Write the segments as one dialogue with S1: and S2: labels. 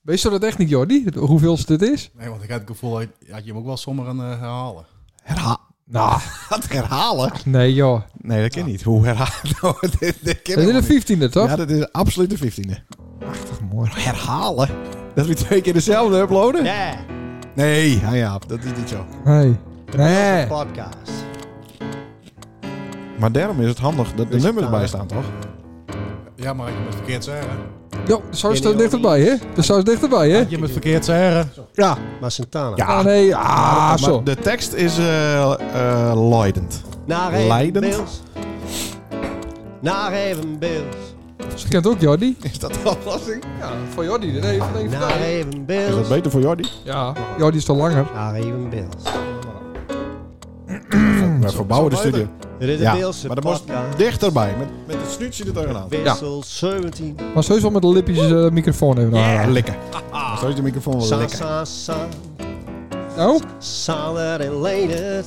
S1: Weet je dat echt niet, Jordi? Hoeveelste dit is?
S2: Nee, want ik had het gevoel dat dat je hem ook wel zomaar aan eh, herhalen.
S3: Herha
S1: Nou,
S3: Wat herhalen?
S1: nee joh.
S3: Nee, dat kan niet. Hoe herhalen? Nou, dit, dit
S1: Dat
S3: kan
S1: is
S3: helemaal
S1: de
S3: niet.
S1: vijftiende, toch?
S3: Ja, dat is absoluut de 15e. Prachtig mooi. Herhalen? Dat we twee keer dezelfde uploaden?
S4: Ja,
S3: Nee, ja, ja, dat is niet zo.
S1: Nee.
S4: de
S1: Nee.
S4: podcast.
S3: Maar daarom is het handig dat de
S4: Is het
S3: nummers
S4: daar?
S3: bij staan, toch?
S2: Ja, maar ik moet het verkeerd zeggen.
S1: Jo, de saus staat dichterbij, hè? De saus dichterbij, hè?
S2: Je moet het verkeerd zeggen.
S3: Ja.
S4: Maar Santana.
S3: Ja.
S1: Ah, nee. Ah,
S3: Maar
S1: zo.
S3: de tekst is eh eh leidend.
S4: Naar even
S3: Leidend.
S4: Beels. Naar even Beels.
S1: Ze kent ook Jordi.
S3: Is dat de oplossing?
S1: Ja, voor Jordi. Dat heeft het even
S4: Naar even
S3: Is dat
S4: Beels.
S3: beter voor Jordi?
S1: Ja, Jordi is toch langer.
S4: Naar even Beels.
S1: Hm,
S3: We verbouwen de
S2: zo beter.
S3: studio.
S4: Dit is de Beelse
S3: maar dan moest
S4: podcast.
S3: dichterbij. Met, met het snuitje er tegenaan.
S4: Wissel 17.
S1: Maar sowieso wel met de lipjes eh, de microfoon even
S3: Ja,
S1: aanraken.
S3: likken. Zo is de microfoon wel
S4: Sa,
S3: likken.
S4: sa, sa.
S1: Nou,
S4: Saler en Leendert.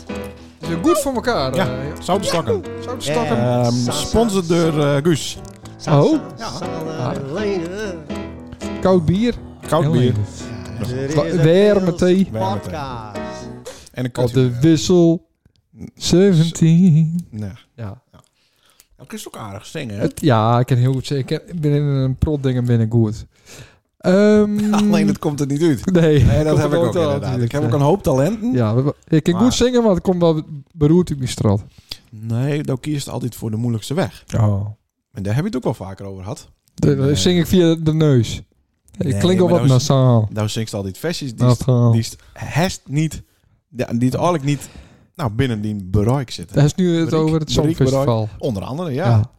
S1: is het goed voor elkaar.
S3: Ja.
S1: eh,
S3: Zoutstokken.
S1: Zou ik stokken?
S4: Ja.
S3: Ehm Sponsor door eh, Guus.
S4: Sa,
S1: Oh.
S4: sa,
S3: Ah,
S4: Saler en Leendert.
S1: Koud bier.
S3: Koud bier.
S4: Dit is
S1: Wa-
S4: de
S1: weer
S4: Beels
S1: met thee.
S3: Weer met thee.
S4: Podcast.
S3: En een
S1: Op
S3: kutje.
S1: de wissel 17.
S3: Nee.
S1: Ja,
S2: Dat kun je ook aardig zingen. hè?
S1: het, ja ik kan heel goed zeggen. Ik ken- Ik ben in een prot dingen binnen goed. Ehm,
S3: Alleen het komt er niet uit.
S1: Nee,
S3: Nee, dat
S1: komt
S3: heb ik
S1: nooit
S3: ook
S1: uit.
S3: inderdaad. Ik heb
S1: Nee.
S3: ook een hoop talenten.
S1: Ja, we- ik kan
S3: Maar-
S1: goed zingen, maar het komt wel beroerd op die straat.
S3: Nee, dan kiest altijd voor de moeilijkste weg.
S1: Oh.
S3: En daar heb je het ook wel vaker over gehad.
S1: Dat
S3: Nee.
S1: zing ik via de neus.
S3: Nee,
S1: ik klink al
S3: maar
S1: wat
S3: dat is-
S1: nasaal.
S3: Daar zingt altijd versies die, is-
S1: Nasaal.
S3: die is hest niet, ja, die het eigenlijk niet nou, binnen die bereik zitten.
S1: Hij is nu het
S3: Mariek-
S1: over het
S3: Mariek
S1: Songfestival.
S3: Onder andere, ja.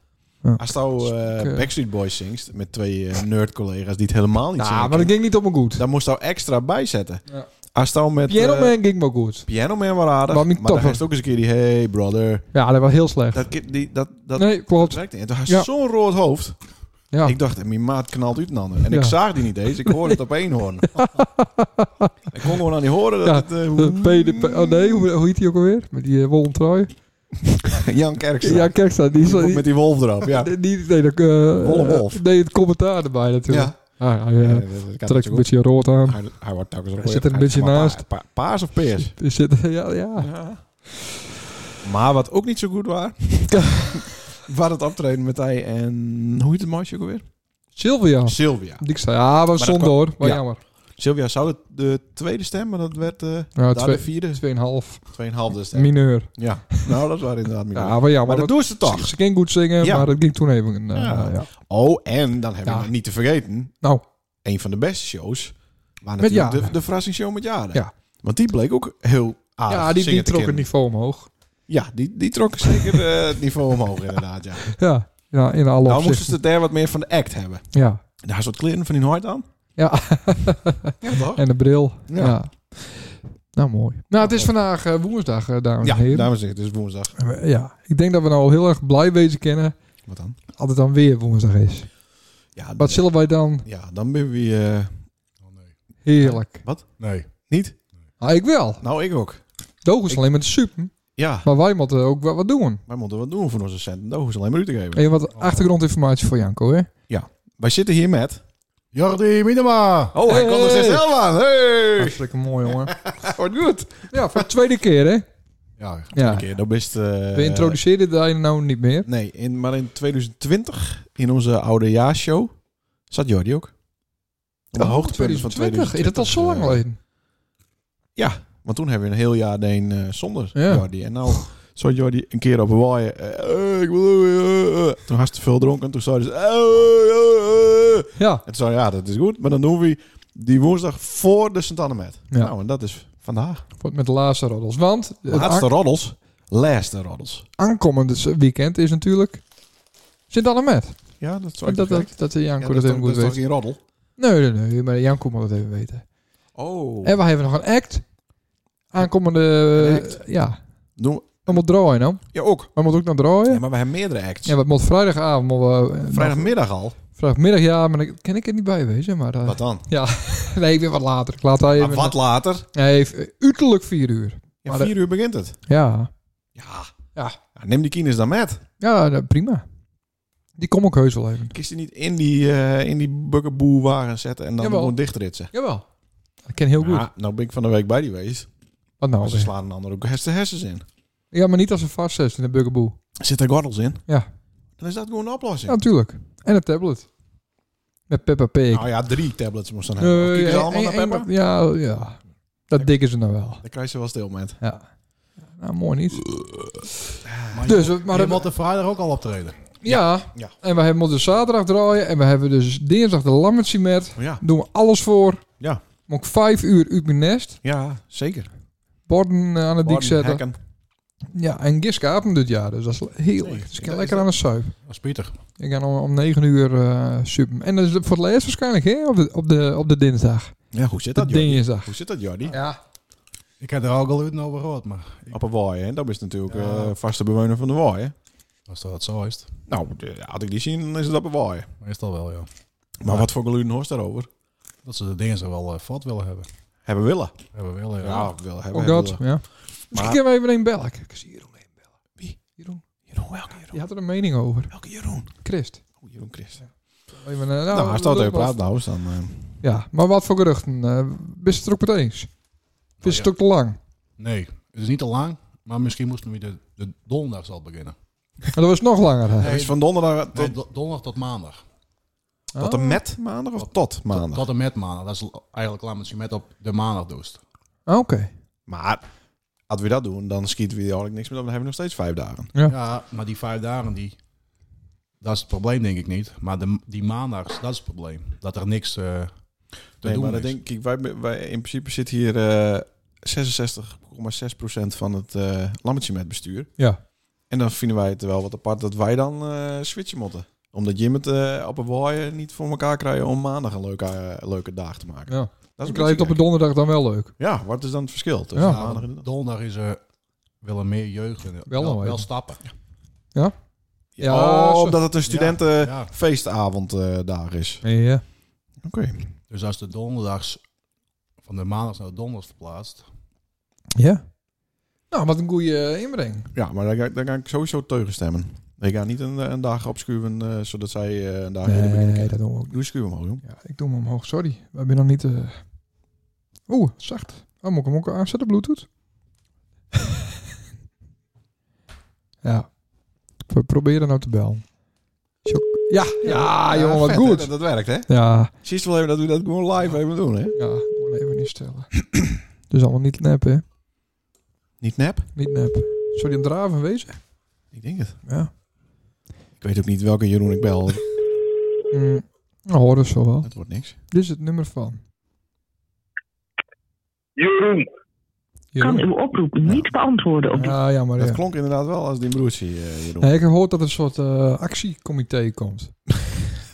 S1: Ja.
S3: Als nou eh, Backstreet Boys zingt met twee eh, nerd-collega's die het helemaal niet
S1: Nou,
S3: zingen,
S1: maar dat ging niet op mijn goed.
S3: dan moest nou extra bijzetten.
S1: Ja.
S3: Als nou met
S1: Piano
S3: eh,
S1: Man ging maar goed.
S3: Piano Man wel aardig,
S1: Wat
S3: maar,
S1: niet
S3: dan
S1: toppen.
S3: heeft ook eens een keer die hey brother.
S1: Ja, dat was heel slecht.
S3: Dat, ki- die, dat, dat
S1: nee, klopt.
S3: werkt niet. En toen had
S1: Ja.
S3: je zo'n rood hoofd.
S1: Ja.
S3: Ik dacht, mijn maat knalt uit een ander. En
S1: Ja.
S3: ik zag die niet eens, ik hoorde het op één hoorn. ik kon gewoon aan die horen dat
S1: Ja,
S3: het... eh,
S1: De P, de P- oh nee, hoe, hoe heet die ook alweer? Met die eh, wollen trui.
S3: Jan Kerkstra.
S1: Ja, kijk staan. Die, is- die,
S3: met die wolf erop, ja.
S1: die- die- Ah, nee, dat, eh,
S3: Wollen wolf.
S1: Nee, het commentaar erbij natuurlijk.
S3: ja.
S1: Ja. Ah,
S3: Ja,
S1: ja,
S3: dat- dat Ah, kan
S1: Trekt een
S3: natuurlijk
S1: beetje rood
S3: ook.
S1: aan.
S3: Hij, hij wordt telkens
S1: Hij
S3: ook
S1: zit er een
S3: hij is
S1: beetje
S3: maar
S1: naast.
S3: pa- pa- paars of peers?
S1: Is het, ja, ja.
S3: Maar wat ook niet zo goed was, was het optreden met hij en... Hoe heet het meisje ook alweer?
S1: Sylvia.
S3: Sylvia.
S1: Die ik zei, ja, was
S3: dat
S1: zonde
S3: kwam-
S1: hoor. Wat
S3: ja.
S1: jammer.
S3: Sylvia zou het de tweede stem, maar dat werd eh
S1: Nou,
S3: daar de
S1: twee,
S3: vierde.
S1: tweeënhalf.
S3: Tweeënhalve stem.
S1: Mineur.
S3: Ja, nou dat waren inderdaad meer.
S1: Ja, wat jammer.
S3: maar dat
S1: Dat-
S3: doen ze toch.
S1: Ze ging goed zingen,
S3: Ja.
S1: maar dat ging toen even... eh,
S3: Ja.
S1: ja.
S3: Oh, en dan heb je
S1: Ja.
S3: nog niet te vergeten,
S1: Nou,
S3: een van de beste shows, maar natuurlijk
S1: Jaren.
S3: de, de verrassingsshow met Jaren.
S1: Ja.
S3: Want die bleek ook heel aardig
S1: ja, die, die
S3: zingen te
S1: trok het
S3: kennen.
S1: niveau omhoog.
S3: Ja, die, die trok zeker eh, het niveau omhoog inderdaad, ja.
S1: Ja, ja in alle
S3: Nou moesten
S1: opzichten.
S3: ze daar wat meer van de act hebben.
S1: Ja.
S3: Daar is wat kleren van die nooit aan.
S1: Ja.
S3: Ja, toch?
S1: en de bril. Ja.
S3: Ja.
S1: Nou, mooi. Nou, het is vandaag eh, woensdag, eh, dames
S3: ja,
S1: en heren.
S3: dames en heren, het is woensdag.
S1: En we- Ja, ik denk dat we nou al heel erg blij wezen kennen
S3: Wat dan?
S1: als het dan weer woensdag is.
S3: Ja,
S1: Wat zullen wij dan?
S3: ja dan ben je eh,
S2: Oh, nee.
S1: Heerlijk.
S2: Nee.
S3: niet.
S1: Ah, ik wel.
S3: Nou, ik ook.
S1: Doog is alleen met de super.
S3: Ja,
S1: Maar wij moeten ook wel wat doen.
S3: wij moeten wat doen voor onze centen. Dat hoeven ze alleen maar u te geven.
S1: En wat achtergrondinformatie voor Janko, hè?
S3: Wij zitten hier met...
S2: Jordi Minema.
S3: Oh, hij komt er zichzelf aan. Hey!
S1: Hartstikke mooi, jongen.
S3: Wordt goed.
S1: Ja, voor de tweede keer, hè?
S2: Ja,
S1: Ja.
S3: Oké, dan best... eh,
S1: We introduceerden daar nou niet meer.
S3: Nee, in, maar in 2020, in onze oudejaarsshow, zat Jordi ook. Op de hoogtepunt van 2020.
S1: Oh, Is dat al zo lang
S3: eh,
S1: geleden?
S3: Want toen hebben we een heel jaar deen eh, zonder
S1: Ja.
S3: Jordi. En nou zat Jordi een keer op een waaien. eh, eh, ik wil, eh, eh. Toen was te veel dronken. Toen zei ze... eh, eh, eh, eh.
S1: Ja.
S3: En toen zei hij, ja, dat is goed. Maar dan doen we die woensdag voor de sint anne met.
S1: Ja.
S3: Nou, en dat is vandaag.
S1: Wordt met de laatste roddels. Want het
S3: Laatste roddels. Laatste roddels.
S1: aan- aankomende weekend is natuurlijk sint anne met.
S3: Ja, dat zou
S1: Dat,
S3: ik
S1: dat,
S3: correct.
S1: dat, dat eh, Janko dat
S3: Ja, dat is
S1: even
S3: toch- dat
S1: moet
S3: is toch
S1: weten.
S3: geen roddel?
S1: Nee, nee, nee. Maar Janko moet dat even weten.
S3: Oh.
S1: En we hebben nog een act. Aankomende...
S3: Een
S1: eh, Ja.
S3: Doen we,
S1: We moeten draaien, nou.
S3: ja, ook.
S1: We moeten ook nog draaien.
S3: Ja,
S1: Ja,
S3: maar we hebben meerdere acts.
S1: wat moet vrijdagavond... moeten we, eh,
S3: Vrijdagmiddag al.
S1: nog- Vrijdagmiddag, ja. Maar dan kan ik er niet bij wezen. Maar eh,
S3: Wat dan?
S1: nee, ik ben wat later. Ik laat hij
S3: Maar
S1: even...
S3: wat later?
S1: Nee, eh, uiterlijk vier uur.
S3: Ja,
S1: Maar
S3: vier uur begint het.
S1: Ja.
S3: Ja.
S1: Ja.
S3: Ja, Neem die kines dan met.
S1: Ja, nou, prima. Die kom ik heus wel even.
S3: Kies je niet in die, eh, in die buggerboe waren zetten en dan
S1: Jawel.
S3: gewoon dichtritsen?
S1: Jawel. Dat ken heel goed.
S3: Ja, nou ben ik van de week bij die wees.
S1: Wat nou?
S3: Maar ze
S1: weer?
S3: slaan een ander ook hersen- hersens in.
S1: Ja, maar niet als een vast zit in de buggerboe.
S3: Zit er gordels in?
S1: Ja.
S3: Dan is dat gewoon een
S1: Ja,
S3: oplossing.
S1: natuurlijk. En een tablet. Met Peppa Pig.
S3: Nou ja, drie tablets moest dan hebben.
S1: Nee,
S3: Kijken ze
S1: één-
S3: allemaal naar
S1: één-
S3: Peppa?
S1: één- Ja, ja. Dat dikken ze nou wel.
S3: Dan krijg je ze wel stil met.
S1: Ja. Nou, mooi niet.
S3: Ah.
S2: Maar
S1: Dus,
S2: je,
S1: maar
S2: je
S1: dat-
S2: moet de vrijdag ook al optreden.
S1: Ja.
S3: Ja.
S1: En we hebben moeten zaterdag draaien. En we hebben dus dinsdag de lammertje met.
S3: Oh Ja,
S1: Doen we alles voor.
S3: Ja.
S1: Moet ik vijf uur uit mijn nest.
S3: ja zeker.
S1: Borden eh, aan de dik
S3: Borden,
S1: zetten.
S3: hekken.
S1: Ja, en Giske apen dit jaar. Dus dat is heerlijk.
S3: Nee,
S1: dus ik
S3: dat
S1: kan
S3: is
S1: lekker
S3: dat-
S1: aan de suip.
S2: Dat is Pieter.
S1: Ik ga om, om 9 uur eh suppen. En dat is voor het laatst waarschijnlijk, hè? Op de, op de, op de dinsdag.
S3: Ja, hoe zit
S1: De
S3: dat, Jordi?
S1: dinsdag.
S3: Hoe zit dat, Jordi?
S1: Ja.
S2: Ik heb er ook al uit over gehoord, maar
S3: Op een waaien, hè? Dat is natuurlijk eh
S2: Ja.
S3: vaste bewoner van de waaien.
S2: als dat zo is,
S3: Nou, de- had ik die zien, dan is het op een waaien.
S2: meestal wel, ja.
S3: Maar wat voor geluiden hoort daarover?
S2: Dat ze de dingen zo wel eh, fort willen hebben.
S3: Hebben willen.
S2: Hebben we wel, ja. Oh
S3: Ja, wil hebben.
S1: Ook
S3: hebben
S1: dat,
S3: willen.
S1: Oh ja. Dus Misschien kunnen we even een bellen. Kijk, ik zie Jeroen even bellen. Wie? Jeroen.
S3: Jeroen, welke Jeroen?
S1: Die had er een mening over.
S3: Welke Jeroen?
S1: Christ.
S3: Oh, Jeroen Christen.
S1: Even, eh,
S3: Nou, hij staat
S1: leuk
S3: even praat
S1: was-
S3: nou, is dan... eh,
S1: Ja, maar wat voor geruchten? eh bist het er ook met eens? Vind je
S2: Nou,
S3: Oh,
S1: het
S2: ja.
S1: ook te lang?
S2: Nee, het is niet te lang, maar misschien moesten we de, de donderdag al beginnen.
S1: Maar dat was nog langer. Hè?
S3: het is van donderdag eh, tot,
S2: Nee, do- donderdag tot maandag.
S3: tot en met maandag of tot maandag?
S2: Tot en met maandag. Dat is l- eigenlijk klaar met je met op de maandag doest.
S1: Ah, Oké.
S3: Maar als we dat doen, dan schieten we eigenlijk niks meer op. Dan hebben we nog steeds vijf dagen.
S1: Ja.
S2: Ja, maar die vijf dagen, die, dat is het probleem denk ik niet. Maar de, die maandags, dat is het probleem. Dat er niks eh, te
S3: nee,
S2: doen
S3: maar
S2: is.
S3: dat denk ik, wij, wij in principe zit hier eh 66,6% van het eh lammetje met bestuur.
S1: Ja.
S3: En dan vinden wij het wel wat apart dat wij dan eh, switchen moeten. Omdat Jim het eh, op een waaien niet voor elkaar krijgt om maandag een leuke, eh, leuke dag te maken.
S1: ja.
S3: Dat
S1: Dan
S3: is
S1: krijg je het op een donderdag dan wel leuk.
S3: Ja, wat is dan het verschil tussen
S1: Ja.
S3: maandag en
S2: Nou, donderdag is er wel meer jeugd. en
S1: Wel een
S2: wel,
S1: beetje.
S2: stappen.
S1: Ja,
S3: oh,
S1: zo.
S3: omdat het een
S2: Ja,
S3: studentenfeestavonddag
S2: ja.
S3: feestavonddag is.
S1: Ja.
S3: Oké.
S2: Dus als de donderdags van de maandags naar de donderdags verplaatst.
S1: Ja. Nou, wat een goede inbreng.
S3: Ja, maar daar ga, ik- daar ga ik sowieso tegen stemmen. Ik ga niet een, eh, een dag opschuwen eh, zodat zij eh, een dag eerder beginnen.
S1: Nee, dat doen we ook niet.
S3: Doe schuwen maar, jong.
S1: Ja, ik doe hem omhoog, sorry. We hebben nog niet... eh, Oeh, zacht. Oh, moet ik hem ook aanzetten, bluetooth? ja. We proberen nou te bellen. Tjok. Ja, ja, jongen, wat
S3: vet,
S1: goed.
S3: hè, dat, dat werkt, hè?
S1: Ja,
S3: Zie je wel even dat we dat gewoon live even doen, hè?
S1: ja, gewoon even niet stellen. dus allemaal niet nep, hè?
S3: Niet nep?
S1: Niet nep. Zou die een draven wezen?
S3: Ik denk het.
S1: Ja.
S3: Ik weet ook niet welke Jeroen ik bel.
S1: Mm, nou, horen ze wel.
S3: Dat wordt niks.
S1: Dit is het nummer van.
S5: Jeroen.
S1: Jeroen.
S6: kan uw oproep niet beantwoorden op dit
S1: Ja, jammer,
S3: Dat
S1: ja.
S3: klonk inderdaad wel als die broertje, eh, Jeroen.
S1: Nee, ik heb gehoord dat er een soort eh, actiecomité komt.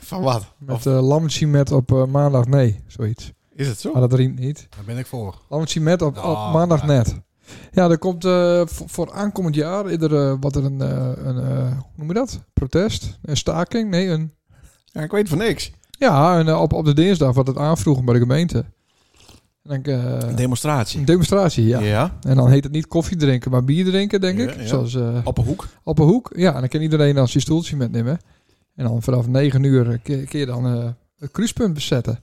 S3: Van wat?
S1: Met
S3: Of
S1: eh lammetje met op eh, maandag nee, zoiets.
S3: is het zo?
S1: Maar dat riemt niet.
S2: Daar ben ik voor.
S1: Lammetje met op, op
S2: Ah,
S1: maandag
S2: ja.
S1: net. Ja, er komt eh, voor, voor aankomend jaar ieder, eh, wat er een, eh, een eh, hoe noem je dat? Protest? Een staking? Nee, een,
S3: Ja, ik weet van niks.
S1: ja, een, eh, op, op de dinsdag wat het aanvroegen bij de gemeente. En dan, eh,
S3: Een demonstratie.
S1: een demonstratie, ja. En dan heet het niet koffie drinken, maar bier drinken, denk
S3: Ja,
S1: ik.
S3: ja.
S1: Zoals eh,
S3: Op een hoek.
S1: op een hoek. Ja, en dan kan iedereen dan zijn stoeltje metnemen. En dan vanaf 9 uur eh, keer, keer dan eh, het kruispunt bezetten.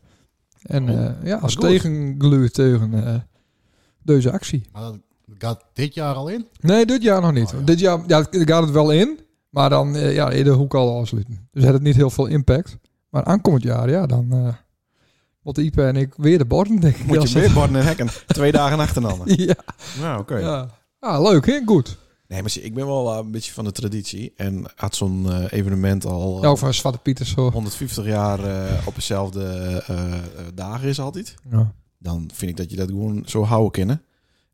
S1: En
S3: Oh,
S1: eh, ja, als
S3: goed.
S1: tegengluur tegen eh, deze actie.
S2: Maar dat gaat dit jaar al in.
S1: Nee, dit jaar nog niet.
S2: Oh, ja.
S1: Dit jaar ja, het gaat het wel in, maar dan eh, ja, in de hoek al afsluiten. Dus het had niet heel veel impact. Maar aankomend jaar, ja, dan eh moet Ipe en ik weer de borden denk ik.
S3: Moet je
S1: wel
S3: weer borden en hekken. Twee dagen achternamen.
S1: zeggen. Ja,
S3: Nou, oké.
S1: ja. Ah, leuk, heel goed.
S3: Nee, maar zie, ik ben wel eh, een beetje van de traditie. En had zo'n eh, evenement al eh,
S1: Ja, Nou, van Zwarte Pieter zo.
S3: 150 jaar eh, op dezelfde eh, eh, dagen is altijd.
S1: Ja.
S3: Dan vind ik dat je dat gewoon zo houden kennen.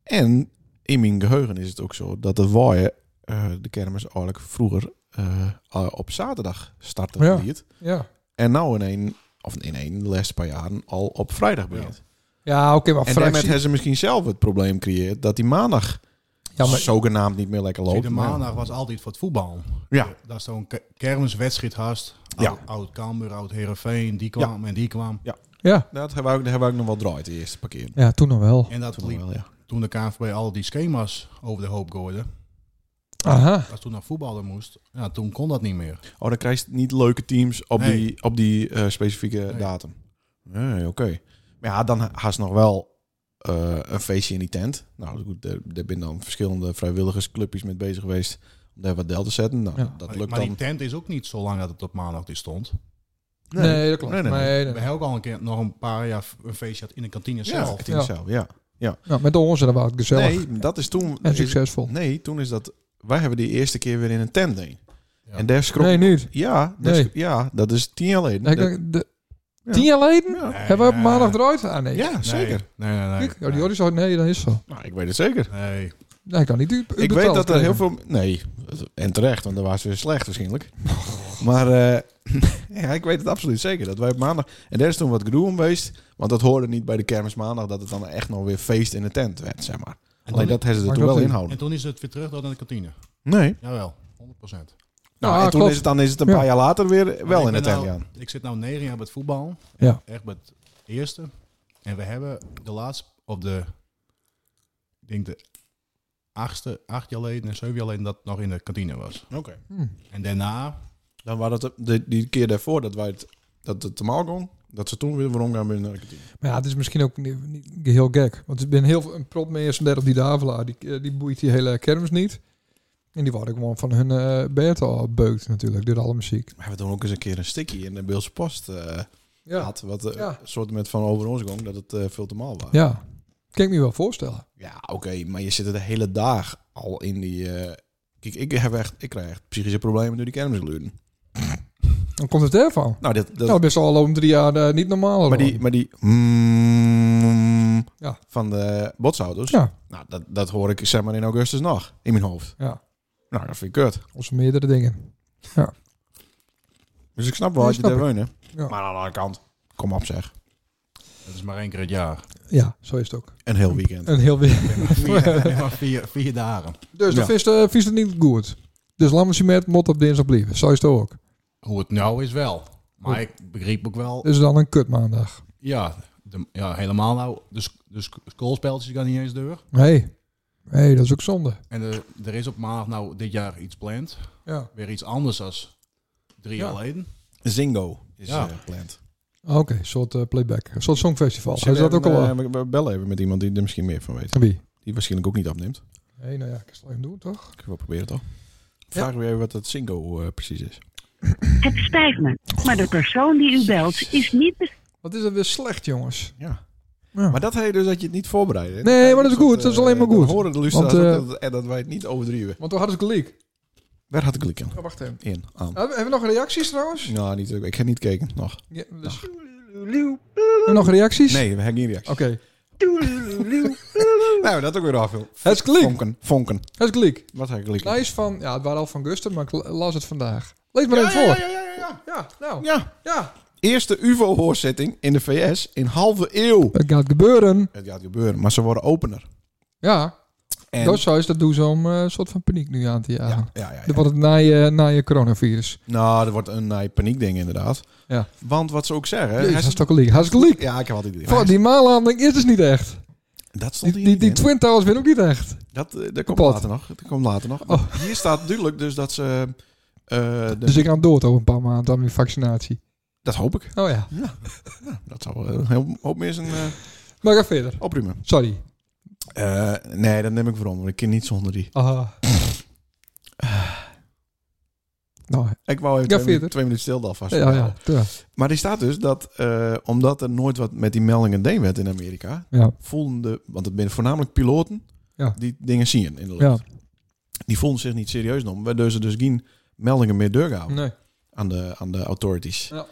S3: En in mijn geheugen is het ook zo dat de waaien eh, de kermis eigenlijk vroeger eh, al op zaterdag startte.
S1: Ja.
S3: liet.
S1: ja.
S3: En nou in één, of in één, de laatste paar jaren al op vrijdag begint.
S1: Ja, oké, maar
S3: En
S1: vrijdag-
S3: daarmee hebben ze misschien zelf het probleem creëert dat die maandag
S1: Ja, maar
S3: zogenaamd niet meer lekker loopt.
S2: de maandag was altijd voor het voetbal.
S3: Ja.
S2: Dat is zo'n ke- kermiswedstrijd haast.
S3: Ja.
S2: Oud, oud Cambuur, oud Herenveen, die kwam en die kwam.
S1: Ja.
S3: Dat hebben we ook, dat hebben we ook nog wel draait, de eerste parkeer.
S1: ja, toen nog wel.
S2: En dat
S3: Toen nog
S2: liep
S3: wel, ja.
S2: toen de KNVB al die schema's over de hoop gooide.
S1: Aha.
S2: Als toen naar voetballen moest, ja, toen kon dat niet meer.
S3: Oh, dan krijg je niet leuke teams op
S2: Nee.
S3: die, op die eh, specifieke
S2: Nee.
S3: datum. Nee, oké. Maar ja, dan haast nog wel eh, een feestje in die tent. Nou, goed, er, er zijn dan verschillende vrijwilligersclubjes mee bezig geweest om daar wat deel te zetten. Nou,
S1: Ja.
S3: dat
S2: Maar,
S3: lukt
S2: maar die
S3: dan.
S2: tent is ook niet zo lang dat het op maandag die stond.
S1: Nee, dat klopt.
S3: Nee,
S1: Nee,
S3: nee, nee.
S1: nee,
S2: We hebben ook al een keer nog een paar jaar een feestje had in de kantine
S3: Ja,
S2: zelf.
S3: het is zelf, ja.
S1: Nou, met ons en dat was het gezellig
S3: Nee, dat is toen...
S1: en
S3: is-
S1: succesvol.
S3: nee, toen is dat... Wij hebben die eerste keer weer in een tent heen.
S2: Ja.
S3: En daar schrok...
S1: Nee, niet.
S3: Ja, daar
S1: Nee.
S3: schrok- ja, dat is tien jaar geleden.
S1: Nee,
S3: Dat-
S1: kijk, de-
S3: Ja.
S1: Tien jaar geleden?
S3: ja.
S2: Nee,
S1: Hebben we op
S2: eh,
S1: maandag eruit? Ah, nee.
S3: ja, zeker.
S2: Nee, nee, nee.
S1: Kijk, oh, die Jordi zou... Nee, dat is zo.
S3: Nou, ik weet het zeker.
S2: Nee.
S1: Nee, ik kan niet u- u
S3: Ik weet
S1: betaald
S3: dat er heel
S1: krijgen.
S3: veel... Nee, en terecht, want dan was ze slecht waarschijnlijk. Maar eh, ja, ik weet het absoluut zeker. Dat wij op maandag... En daar is toen wat gedoe om geweest. Want dat hoorde niet bij de kermis maandag... dat het dan echt nog weer feest in de tent werd, zeg maar.
S2: En
S3: Alleen
S2: toen,
S3: dat hebben ze
S1: Maar
S3: er toen
S1: dat
S3: wel
S1: is-
S2: en
S3: inhouden.
S2: toen is het weer terug naar de kantine.
S3: Nee.
S2: Jawel, 100 procent.
S3: Nou,
S1: Ah,
S3: en toen
S1: klopt.
S3: is het, dan is het een paar
S1: Ja.
S3: jaar later weer wel in de tent
S2: nou,
S3: gaan.
S2: Ik zit nu negen jaar bij het voetbal.
S1: Ja.
S2: Echt bij het eerste. En we hebben de laatste, op de, ik denk de achtste, acht jaar geleden en zeven jaar geleden dat het nog in de kantine was.
S3: Oké.
S1: Hm.
S2: En daarna,
S3: Dan was dat de, die keer daarvoor dat wij het, dat het te maal ging... dat ze toen weer waarom gaan binnen de kantine.
S1: Maar ja, het is misschien ook niet, niet heel gek. Want ik ben heel veel- een prop met eerst en derde op die Davelaar. Die, eh, die boeit die hele kermis niet. En die worden gewoon van hun eh bed al beukt natuurlijk. Door alle muziek.
S3: We hebben toen ook eens een keer een stickie in de Beelse Post eh,
S1: Ja.
S3: had. Wat eh,
S1: Ja.
S3: een soort met van over ons ging, dat het eh, veel te maal was.
S1: Ja. Kan ik me wel voorstellen.
S3: Ja, oké, maar je zit er de hele dag al in die... eh, Kijk, ik, heb echt, ik krijg echt psychische problemen door die kermisgeluiden.
S1: Dan komt het ervan.
S3: Nou, dit, dat,
S1: Nou, best al om drie jaar eh, niet normaal.
S3: maar die...
S1: hoor.
S3: Maar die mm,
S1: Ja.
S3: Van de botsauto's.
S1: Ja.
S3: Nou, dat, dat hoor ik zeg maar in augustus nog. In mijn hoofd.
S1: Ja.
S3: Nou, dat vind ik kut.
S1: Onze meerdere dingen.
S3: Dus ik snap wel
S1: Ja,
S3: als je
S1: snap
S3: daar wonen.
S1: Ja.
S3: Maar aan de andere kant, kom op zeg.
S2: dat is maar één keer het jaar.
S1: Ja, zo is het ook.
S3: Een heel weekend.
S1: Een heel weer.
S2: Vier, maar vier, vier dagen.
S1: Dus
S3: Ja.
S1: de vis, eh, vis het niet goed. Dus laat me zien met mot op dinsdag blijven. Zo is het ook.
S2: Hoe het nou is wel. Maar ik begreep ook wel,
S1: Dus dan een kut maandag.
S2: ja, de- ja helemaal nou. De, sc- de sc- schoolspeltjes gaan niet eens deur.
S1: Nee. Nee, dat is ook zonde.
S2: En de- er is op maandag nou dit jaar iets planned.
S1: Ja.
S2: Weer iets anders als drie
S1: Ja.
S2: jaar geleden.
S3: Zingo is
S2: Ja.
S3: ja. gepland.
S1: Oké, een soort eh, playback. Een soort songfestival. Hij is
S3: Zullen
S1: dat
S3: we
S1: ook
S3: even,
S1: al?
S3: eh, we- We bellen even met iemand die er misschien meer van weet.
S1: Wie?
S3: Die waarschijnlijk ook niet opneemt.
S1: Nee, nou ja, ik zal hem doen, toch?
S3: Ik wil proberen toch. Vraag weer even wat dat Zingo eh, precies is.
S6: Het spijt me, maar de persoon die u belt is niet bes-
S1: Wat is dat weer slecht, jongens.
S3: Ja.
S1: Ja.
S3: Maar dat heet dus dat je het niet voorbereidt. hè?
S1: Nee, maar dat is
S3: Dus
S1: goed. Dat is alleen maar
S3: eh,
S1: goed.
S3: dan horen de luisteraars
S1: Want, eh,
S3: ook dat, en dat wij het niet overdrijven.
S1: Want toen hadden ze gelijk.
S3: Waar had ik klik in?
S1: Oh, wacht even.
S3: In, aan.
S1: Hebben hebben we nog reacties trouwens?
S3: Nou, niet, ik heb niet gekeken, nog.
S1: Ja, dus... Hebben we nog reacties?
S3: Nee, we hebben geen reactie.
S1: Oké.
S3: Nou, dat ook weer af. joh.
S1: Het is klik.
S3: Vonken, vonken.
S1: Het is gelijk.
S3: Wat had ik klikken?
S1: Hij is van... Ja, het waren al van Guster, maar ik la- las het vandaag. Lees maar even voor. Ja, nou. Ja.
S3: Ja, eerste UFO-hoorzitting in de VS in halve eeuw.
S1: Het gaat gebeuren.
S3: Het gaat gebeuren, maar ze worden opener.
S1: Ja.
S3: En,
S1: Dat zou is dat doen ze om eh, een soort van paniek nu aan te jagen.
S3: ja,
S1: Ja. Eh,
S3: ja, ja, ja.
S1: Wat het na je, na je coronavirus.
S3: Nou, er wordt een nee, paniekding inderdaad.
S1: Ja.
S3: Want wat ze ook zeggen...
S1: Jezus,
S3: hij
S1: dat is
S3: stond-
S1: toch gelijk. Hij is gelijk.
S3: ja, ik heb altijd die
S1: Goh, die maanlanding is dus niet echt.
S3: Dat
S1: Die,
S3: stond hier
S1: die,
S3: niet
S1: die
S3: in.
S1: Twin Towers winnen ook niet echt.
S3: Dat, eh, dat komt
S1: Kapot.
S3: later nog. Dat komt later nog.
S1: Oh.
S3: Hier staat duidelijk dus dat ze... eh, eh, de-
S1: Dus ik ga dood over een paar maanden aan mijn vaccinatie.
S3: Dat hoop ik.
S1: Oh ja.
S3: Dat zou wel een heel hoop mensen eh
S1: Maar ga verder.
S3: opruimen.
S1: Sorry.
S3: Eh, nee, dat neem ik voor om. want Ik kan niet zonder die.
S1: Aha. Ah. nou,
S3: Ik wou even
S1: Ja,
S3: twee,
S1: verder.
S3: minu- twee minuten stilte alvast.
S1: ja, ja. ja. ja.
S3: Maar die staat dus dat, eh, omdat er nooit wat met die meldingen deed werd in Amerika,
S1: ja.
S3: voelden de, want het zijn voornamelijk piloten
S1: Ja.
S3: die dingen zien in de lucht.
S1: ja.
S3: Die voelden zich niet serieus genomen, waardoor ze dus geen meldingen meer doorgaven
S1: Nee.
S3: aan, de, aan de authorities.
S1: Ja.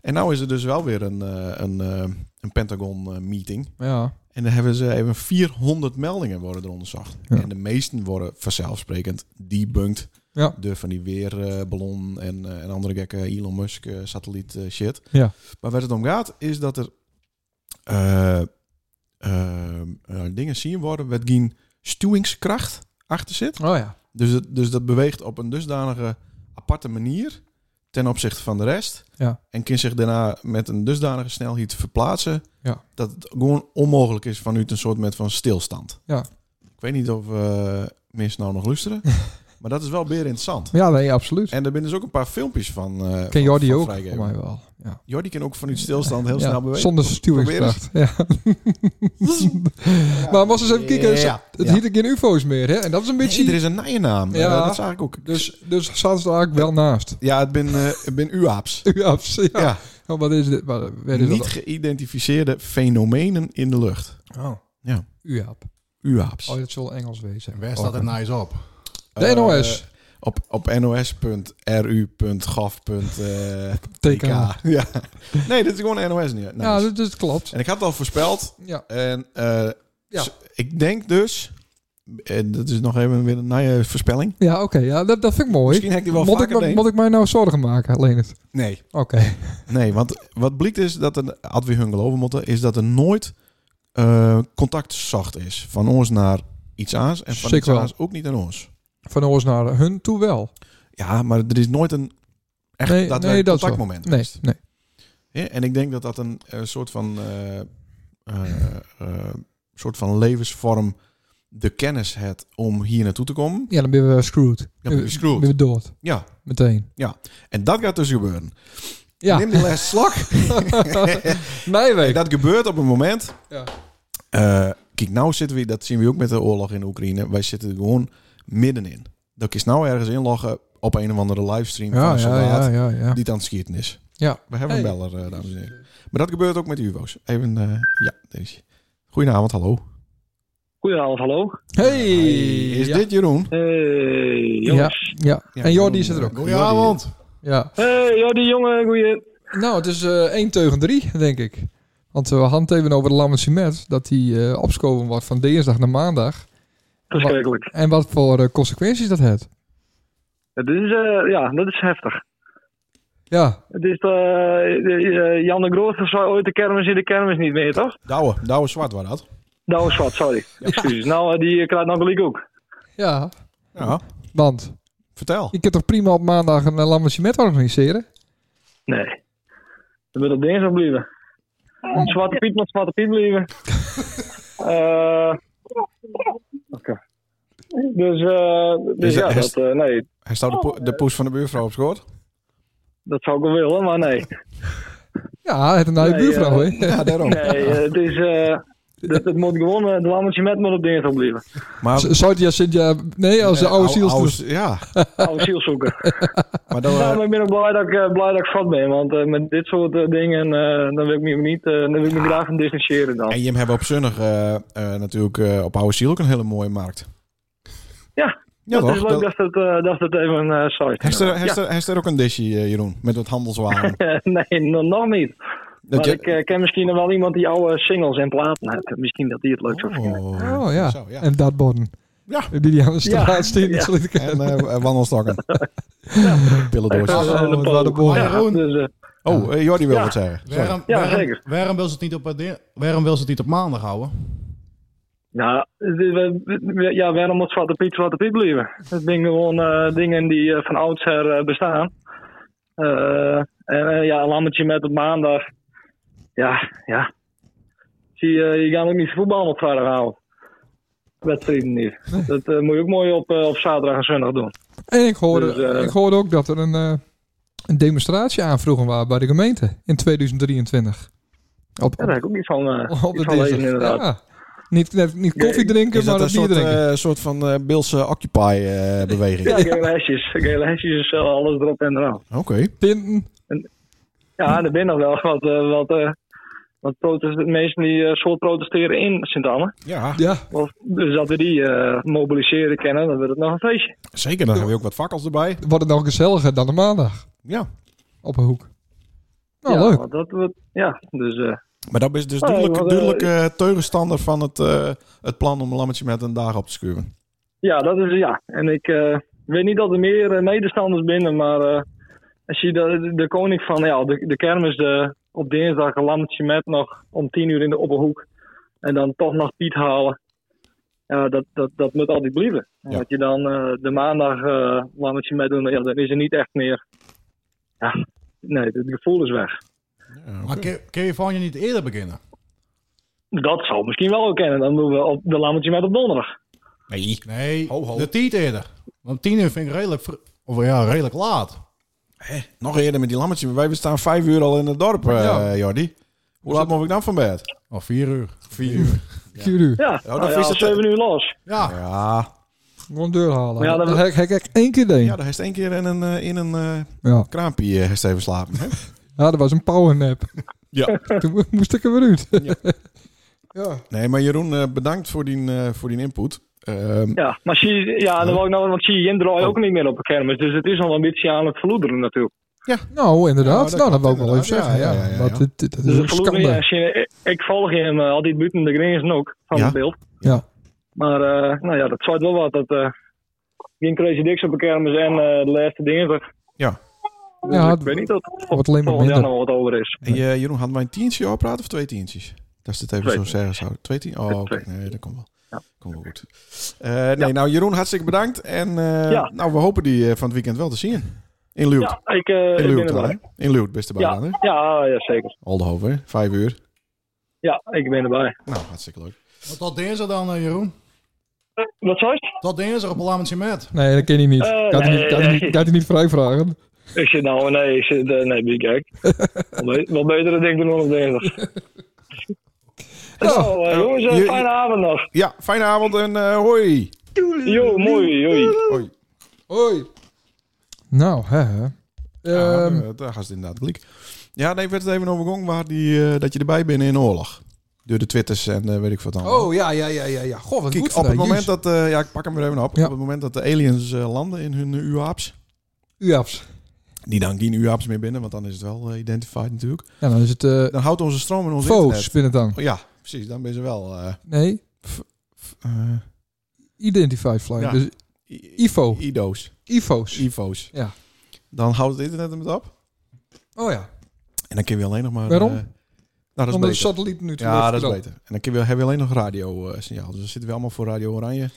S3: En nou is er dus wel weer een, eh, een, eh, een Pentagon-meeting.
S1: Ja.
S3: En dan hebben ze even 400 meldingen worden er onderzocht.
S1: Ja.
S3: En de meesten worden vanzelfsprekend debunked.
S1: Ja.
S3: Door van die weerballon en, eh, en andere gekke Elon Musk eh, satelliet eh, shit.
S1: Ja.
S3: Maar waar het om gaat is dat er eh, eh, eh, dingen zien worden wat geen stuwingskracht achter zit.
S1: Oh ja.
S3: Dus, het, dus dat beweegt op een dusdanige aparte manier ten opzichte van de rest.
S1: Ja.
S3: En kan zich daarna met een dusdanige snelheid verplaatsen
S1: Ja.
S3: dat het gewoon onmogelijk is vanuit een soort met van stilstand.
S1: Ja.
S3: Ik weet niet of eh mensen nou nog luisteren. Maar dat is wel weer interessant.
S1: Ja, nee, absoluut.
S3: En er zijn dus ook een paar filmpjes van. eh
S1: Ken
S3: van-
S1: Jordi
S3: van
S1: ook,
S3: vrijgeven.
S1: voor mij wel. Ja.
S3: Jordi kan ook vanuit stilstand heel
S1: Ja,
S3: snel bewegen.
S1: Zonder stuwingskracht. Ja. maar was eens even kijken.
S3: Ja.
S1: Het
S3: Ja.
S1: hield ik geen ufo's meer, hè? En dat is een
S3: Nee, er
S1: beetje...
S3: is een nijennaam.
S1: Ja.
S3: Ja. dat zag ik ook.
S1: Dus, dus zaten ze er eigenlijk wel naast.
S3: Ja, het ben, eh, het ben UAPS.
S1: Uaps, ja.
S3: Ja.
S1: Oh, wat is dit? Wat, wat is
S3: Niet geïdentificeerde fenomenen in de lucht.
S1: dat? Oh.
S3: Ja.
S1: Uap.
S3: UAPS.
S1: Oh, dat zal Engels wezen. Oh,
S2: En waar staat het nice op?
S1: De
S3: Eh,
S1: NOS.
S3: op op nos.ru.gov.tk.
S1: Teken.
S3: eh, ja. Nee, dit is gewoon NOS niet.
S1: Ja, dat, dat klopt.
S3: En ik had het al voorspeld.
S1: Ja.
S3: En eh,
S1: Ja.
S3: s- ik denk dus... En dat is nog even weer een naaie voorspelling.
S1: Ja, oké. ja, dat, dat vind ik mooi.
S3: Misschien heb ik die wel
S1: Moet ik,
S3: vaker
S1: me-
S3: deed.
S1: moet ik mij nou zorgen maken, alleen het?
S3: Nee.
S1: Oké.
S3: Nee, want wat blijkt is dat er, had we hun geloven moeten, is dat er nooit eh, contact zacht is. Van ons naar iets aans en van
S1: Zeker
S3: iets
S1: wel.
S3: aans ook niet aan ons.
S1: Van ons naar hun toe wel.
S3: Ja, maar er is nooit een echt
S1: Nee,
S3: dat
S1: nee, dat is wel.
S3: contactmoment
S1: Nee,
S3: geweest.
S1: nee.
S3: Ja, en ik denk dat dat een eh, soort van eh, eh, eh, soort van levensvorm de kennis het om hier naartoe te komen.
S1: Ja, dan ben we screwed.
S3: ben je screwed.
S1: Ben we dood.
S3: Ja,
S1: Meteen.
S3: en dat gaat dus gebeuren.
S1: Ja.
S3: Neem die les slak.
S1: Nijweek.
S3: Dat gebeurt op een moment.
S1: Ja.
S3: Eh, kijk, nou zitten we, dat zien we ook met de oorlog in Oekraïne. Wij zitten er gewoon middenin. Dat is nou ergens inloggen op een of andere livestream van
S1: Ja,
S3: een
S1: ja,
S3: soldaat
S1: ja, ja, ja.
S3: die het aan het schieten is.
S1: Ja.
S3: We hebben een
S1: Hey.
S3: beller, eh, dames en heren. Maar dat gebeurt ook met de UVO's. Even, eh, ja, deze. Goedenavond, hallo.
S5: Goedenavond, hallo.
S1: Hey!
S3: Is
S1: ja.
S3: dit Jeroen?
S5: Hey,
S1: Ja,
S5: jongens.
S1: ja.
S3: Ja,
S1: En Jordi
S3: Jeroen,
S1: zit er ook.
S3: eh,
S2: Goedenavond.
S1: Ja.
S5: Hey, joh, die jongen, goeie.
S1: Nou, het is eh 1 teugen 3, denk ik. Want eh, we hadden het even over de Lammet Cimet, dat die eh opschoven wordt van dinsdag naar maandag.
S5: Verschrikkelijk.
S1: En wat voor eh, consequenties dat heeft.
S5: Het is, eh, ja, dat is heftig.
S1: Ja,
S5: Het is, eh, eh, Jan de Groot verzwaaide ooit de kermis in de kermis niet meer, toch?
S3: Douwe, Douwe Zwart was dat.
S5: Dat was wat, Nou, sorry. Excuses. Nou, eh, die krijgt nog gelijk ook.
S1: ja.
S3: Ja,
S1: Want
S3: vertel.
S1: je kunt toch prima op maandag een eh, Lammet Cimet organiseren?
S5: Nee. Dan moet op dinsdag blijven. Zwarte Piet moet Zwarte Piet blijven. Eh, Oké. Dus, eh, dus
S3: Is
S5: ja,
S3: dat-
S5: dat, eh, nee,
S3: Hij staat de, po- de poes van de buurvrouw op schoot.
S5: dat zou ik wel willen, maar nee.
S1: Ja, het een nieuwe
S5: Nee,
S1: buurvrouw,
S5: eh,
S1: hè?
S3: Ja, daarom.
S5: Nee, eh, het is. eh dat, het moet gewoon. eh, Het lammetje met moet op dinsdag blijven.
S3: Maar,
S1: Z- Zou je zit je... Nee, als de
S3: eh,
S1: oude
S3: oude-
S1: ziels...
S3: oude- Ja,
S5: Oude ziel zoeken.
S3: maar dan... eh,
S5: Nou, maar ik ben ook blij dat ik, eh, blij dat ik vat ben. Want eh, met dit soort eh, dingen. eh, dan wil ik me niet. eh, dan wil ik me graag van distancieren dan.
S3: En Jim hebben op zonnig eh, eh, natuurlijk eh, op Oude Ziel ook een hele mooie markt.
S5: Ja,
S3: Ja,
S5: dat is
S3: toch?
S5: leuk
S3: Dat-
S5: dat het, eh, dat het even eh saai
S3: Heeft er, heeft,
S5: Ja.
S3: er, heeft er ook een disje, eh, Jeroen? Met wat handelswaren.
S5: Nee, nog, nog niet.
S3: Dat
S5: maar
S3: je-
S5: ik eh, ken misschien nog wel iemand die oude singles en platen heeft. Misschien dat die het leuk zou vinden.
S3: Oh.
S1: Oh ja.
S3: Zo, ja.
S1: en dat borden.
S3: Ja.
S1: Die die aan de straat
S5: Ja.
S1: steken,
S5: Ja.
S1: zodat ik-
S3: En eh, wandelstokken. Pillendoortjes.
S1: Oh,
S5: Eh, de
S1: wat
S5: Pool.
S1: waren de boel.
S5: Ja,
S2: Jeroen.
S5: dus, eh,
S3: Oh, eh, Jordi wil
S5: Ja.
S3: wat zeggen. Sorry.
S2: Waarom,
S5: Ja,
S2: waarom-
S5: zeker.
S2: Waarom wil ze het niet op, di- waarom wil ze het niet op maandag houden?
S5: Ja, we- Nou, we- we- ja, waarom moet Zwarte Piet Zwarte Piet blijven? Het zijn gewoon eh, dingen die eh, van oudsher eh, bestaan. Eh, en eh, ja, een lammetje met op maandag. Ja, ja. Zie, eh, je, je gaat ook niet voetbal op vrijdag houden. Wedstrijden niet. Dat eh, moet je ook mooi op, eh, op zaterdag en zondag doen.
S1: En ik hoorde,
S5: Dus, eh,
S1: ik hoorde ook dat er een, eh, een demonstratie aanvroegen was bij de gemeente in 2023. Op,
S5: Ja, daar heb ik ook iets van, eh
S1: Oh, op
S5: iets
S1: de
S5: van lezen
S1: dinsdag.
S5: inderdaad.
S1: Ja. Niet, net, niet koffie drinken,
S3: Is
S1: maar
S3: dat een
S1: dat bier
S3: soort,
S1: drinken.
S3: eh, soort van eh Bilse Occupy-beweging?
S5: Ja, gele hesjes. Gele hesjes, eh, alles erop en eraan.
S3: Oké.
S1: Pinten.
S5: Ja, er zijn nog wel wat, eh, wat, eh, wat protest, mensen die eh soort protesteren in Sint-Anne.
S3: Ja,
S1: Ja,
S5: Of- Dus dat we die eh, mobiliseren kennen, dan wordt het nog een feestje.
S3: zeker. Dan hebben we ook wat vakkels erbij.
S1: wordt het nog gezelliger dan de maandag
S3: Ja.
S1: op een hoek. Nou,
S5: ja,
S1: leuk.
S5: want Dat, wordt- ja, dus eh,
S3: Maar dat is dus
S5: Oh,
S3: duidelijk,
S5: wat, eh,
S3: duidelijk eh, tegenstander van het, eh, het plan om een lammetje met een dag op te schuren.
S5: ja, dat is ja. En ik eh, weet niet dat er meer eh, medestanders binnen, maar eh, als je de, de koning van ja, de, de kermis de, op dinsdag een lammetje met nog om tien uur in de opperhoek. En dan toch nog Piet halen. Ja, dat, dat, dat moet altijd blijven.
S3: Ja.
S5: En Dat je dan eh, de maandag eh lammetje met doen, ja, dan is er niet echt meer. Ja, nee, het gevoel is weg.
S2: Maar kun- kun je van je niet eerder beginnen?
S5: Dat zou misschien wel ook kennen. Dan doen we op de lammetje met op donderdag.
S3: Nee.
S2: Nee,
S3: Ho, ho.
S2: de tiet eerder. Want tien uur vind ik redelijk, vr- of ja, redelijk laat.
S3: Nog eerder met die lammetje. maar Wij staan vijf uur al in het dorp, eh,
S1: Ja.
S3: Jordi. Hoe laat moet ik dan van bed?
S2: Of vier uur.
S3: Vier uur.
S1: Vier uur.
S5: Ja,
S3: dan
S5: nou ja,
S3: vies het-
S5: zeven uur los.
S2: Ja,
S3: Ja,
S1: Gewoon deur halen.
S5: Maar ja,
S1: Ja,
S5: dan-
S1: dat heb ik- heb ik één keer deed.
S3: ja
S1: Ja,
S3: daar heeft één keer in een, eh, in een eh,
S1: ja.
S3: kraampje eh, heeft even slapen. hè?
S1: dat was een powernap.
S3: Ja.
S1: Toen moest ik er weer uit. ja.
S3: Nee, maar Jeroen, eh, bedankt voor die, eh, voor die input. Ehm,
S5: Ja, maar zie, ja, dan wou ik nou, want zie je Jim draait ook niet meer op de kermis. Dus het is al een beetje aan het verloederen natuurlijk.
S1: Nou, inderdaad.
S3: Ja, dat
S1: nou, dat wil
S3: klopt,
S1: ik wel even
S3: inderdaad.
S1: zeggen. Ja,
S3: Ja, ja, ja, ja.
S1: Want dit, dit- dat
S5: Dus
S1: is een
S5: het verloederen, ja,
S1: schande.
S5: zie je, ik, ik volg hem eh, altijd buiten de grenzen ook, van
S3: Ja.
S5: het beeld.
S1: Ja.
S5: Maar eh, nou ja, dat zwaait wel wat. Dat, eh Jim Crazy Dicks op de kermis en eh, de laatste dinsdag.
S3: Ja.
S5: Dus
S1: Ja,
S5: ik
S1: het
S5: weet niet dat of
S1: wordt alleen maar
S5: volgend jaar
S1: minder.
S5: nog wat over is.
S3: en, eh, Jeroen, hadden wij een tientje opraten of twee tientjes? Dat is het even
S5: Twee.
S3: zo zeggen zou. Twee tientjes? Oh, oké. Nee, dat komt wel.
S5: Ja.
S3: Komt wel goed. Eh, nee, nou Jeroen, hartstikke bedankt. En eh,
S5: Ja.
S3: nou, we hopen die eh, van het weekend wel te zien. In Luwt.
S5: Ja, ik, eh
S3: In
S5: ik ben
S3: Luwt dan, hè?
S5: erbij.
S3: In Luwt, beste
S5: Ja.
S3: baan dan, hè?
S5: Ja, ja, zeker.
S3: Aldehoven, hè? Vijf uur.
S5: Ja, ik ben erbij.
S3: Nou, hartstikke leuk.
S2: Maar tot dinsdag dan, eh, Jeroen.
S5: Wat zei je?
S2: Tot dinsdag op Lammetje met.
S1: Nee, dat ken je niet.
S5: Eh,
S1: Gaat hij niet,
S5: nee,
S1: kan hij niet,
S5: nee.
S1: kan hij niet vrijvragen.
S5: Ik zit nou, nee, ik zit, eh, nee, ben ik gek. Wel be- Wel betere ding doen dan op dinsdag.
S1: Nou,
S5: Nou, eh, jongens, eh,
S3: je-
S5: fijne avond nog.
S3: Ja, fijne avond en eh, hoi.
S5: Jo, mooi, joei.
S3: Hoi.
S1: hoi. Nou, hè. hè.
S3: Ja,
S1: Ehm,
S3: eh, daar gaat het inderdaad gelijk. Ja, nee, werd het even overgong waar die, eh, dat je erbij bent in oorlog. Door de twitters en eh, weet ik wat dan.
S1: oh, ja, ja, ja, ja. ja. Goh, wat
S3: Kijk,
S1: goed
S3: op het
S1: vandaag,
S3: moment
S1: jeez.
S3: dat... eh, ja, ik pak hem er even op.
S1: Ja.
S3: Op het moment dat de aliens eh, landen in hun eh, UAP's...
S1: U afs.
S3: Die dan geen UAP's meer binnen, want dan is het wel eh, identified natuurlijk.
S1: Ja, dan is het eh
S3: Dan houdt onze stroom en ons
S1: Foos,
S3: internet...
S1: vind het dan.
S3: Oh, ja, precies. Dan ben ze wel... eh,
S1: Nee,
S3: f- eh,
S1: Identify Fly.
S3: Ja.
S1: Dus
S3: i-
S1: Ivo.
S3: IDO's.
S1: IFO's.
S3: IVO's.
S1: Ja.
S3: Dan houdt het internet hem het op.
S1: Oh ja,
S3: En dan kun je alleen nog maar...
S1: Waarom?
S3: eh, nou, dat is
S1: onder de
S3: beter.
S1: satelliet nu te
S3: Ja,
S1: lichten
S3: dat is
S1: dan.
S3: beter. En dan kun je, hebben we alleen nog radio eh, signaal. Dus dan zitten we allemaal voor Radio Oranje.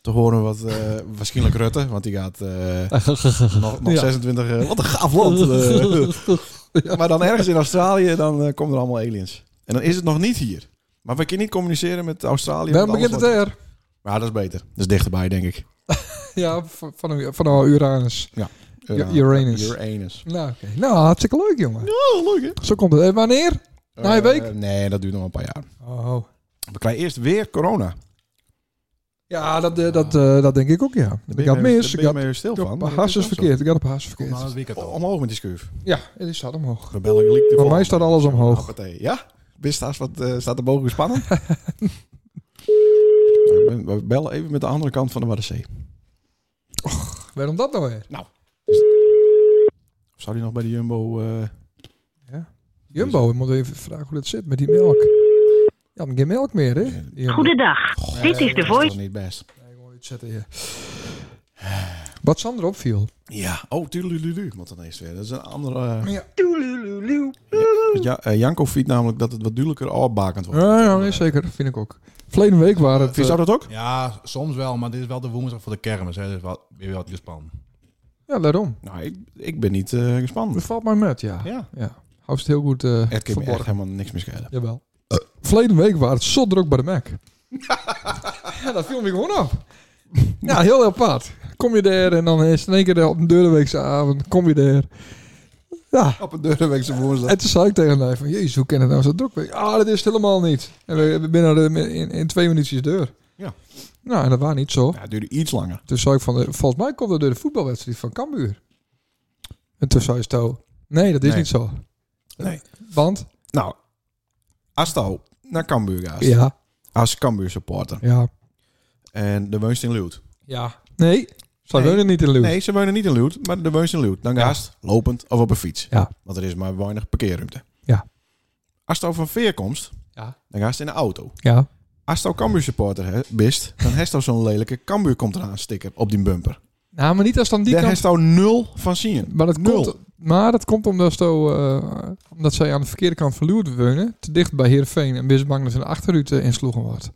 S3: Te horen wat eh, waarschijnlijk Rutte, want die gaat eh, nog, nog
S1: Ja.
S3: 26. eh, wat een gaaf land. eh. Maar dan ergens in Australië, dan eh, komen er allemaal aliens. En dan is het nog niet hier. Maar we kunnen niet communiceren met Australië.
S1: Waarom
S3: met
S1: begint
S3: alles
S1: het
S3: wat-
S1: er?
S3: Maar dat is beter. Dat is dichterbij, denk ik.
S1: Ja, van, van, van Uranus. U- Uranus.
S3: Eh, Uranus.
S1: Nou, oké. nou, hartstikke leuk, jongen.
S3: Oh, leuk hè?
S1: Zo komt het. En wanneer? Na een
S3: Eh,
S1: week?
S3: nee, dat duurt nog wel een paar jaar.
S1: Oh.
S3: We krijgen eerst weer corona.
S1: Ja, dat, eh, dat, eh, dat denk ik ook, ja. Ik had mis. Ik
S3: Daar
S1: had
S3: ben je stil
S1: ik had
S3: van.
S1: op hartstikke verkeerd. Ik had op hartstikke
S2: Kom nou
S1: verkeerd.
S2: het weekend al.
S3: Oh, Omhoog met die schuif.
S1: Ja, het staat omhoog.
S3: Dan bel ik Liek de
S1: Voor mij
S3: volgende.
S1: staat alles omhoog.
S3: Hoppatee. Ja? Wist haast wat eh, staat er boven gespannen? Nou, we- we bellen even met de andere kant van de Waddenzee.
S1: Waarom dat nou weer?
S3: Of zou die nog bij de Jumbo... eh,
S1: Jumbo, ik moet even vragen hoe dat zit met die melk. Ja, maar geen melk meer, hè? Jumbo.
S6: Goedendag. Dit is de
S3: dat is
S6: voice.
S3: toch niet best.
S1: Nee, gewoon iets zetten hier. Wat Sander opviel.
S3: Ja. Oh, tuurlijk. Moet dan eerst weer. Dat is een andere... eh,
S1: Ja.
S3: Ja, eh, Janko vindt namelijk dat het wat duidelijker afbakend wordt.
S1: Ja, ja, nee, zeker. Vind ik ook. Verleden week waren het...
S3: Vind
S1: eh,
S3: zou dat ook?
S2: Ja, soms wel, maar dit is wel de woensdag voor de kermis. Hè. Dus wat, weer wat gespannen.
S1: Ja, daarom.
S3: Nou, ik, ik ben niet eh gespannen.
S1: Dat valt mij met, ja.
S3: Ja.
S1: ja. Houdt het heel goed eh
S3: Het kan me echt
S1: verborgen.
S3: helemaal niks meer schelen.
S1: Jawel. Verleden week waren het zo druk bij de Mac. ja, dat viel me gewoon op. Ja, heel apart. Kom je daar en dan is in één keer de- op een deurweekse avond, kom je daar. Ja,
S3: Op een deurweekse woensdag.
S1: en toen zei ik tegen mij van, jezus, hoe kan het nou zo druk zijn? Ah, dat is het helemaal niet. En we, we binnen de- in, in twee minuutjes deur.
S3: Ja.
S1: Nou, en dat was niet zo.
S3: Ja, het duurde iets langer.
S1: Toen zei ik van, eh, volgens mij komt dat door de voetbalwedstrijd van Cambuur. En toen zei Sto, nee, dat is
S3: Nee.
S1: niet zo.
S3: Nee.
S1: Want?
S3: Nou, Asto naar Cambuur gaat.
S1: Ja,
S3: Als Cambuur supporter.
S1: ja,
S3: En de woont in Luut.
S1: ja. Nee, zij
S3: Nee.
S1: wonen niet in Luw.
S3: Nee, ze wonen niet in Luut, maar de woont in Luut. Dan
S1: Ja.
S3: gaast lopend of op een fiets.
S1: Ja.
S3: Want er is maar weinig parkeerruimte.
S1: Ja.
S3: Asto van Veerkomst,
S1: Ja.
S3: dan gaast in de auto.
S1: Ja.
S3: Asto Cambuur supporter he- bist, dan heeft hij zo'n lelijke Cambuur komt eraan sticker op die bumper.
S1: Nou, maar niet als dan die
S3: Daar
S1: kant.
S3: heeft hij nul van zien.
S1: Maar dat,
S3: Nul.
S1: komt, maar dat komt omdat, zo, eh, omdat zij aan de verkeerde kant van Luwert wonen. Te dicht bij Heerenveen. En wees bang dat hun achterruit eh, insloegen wordt.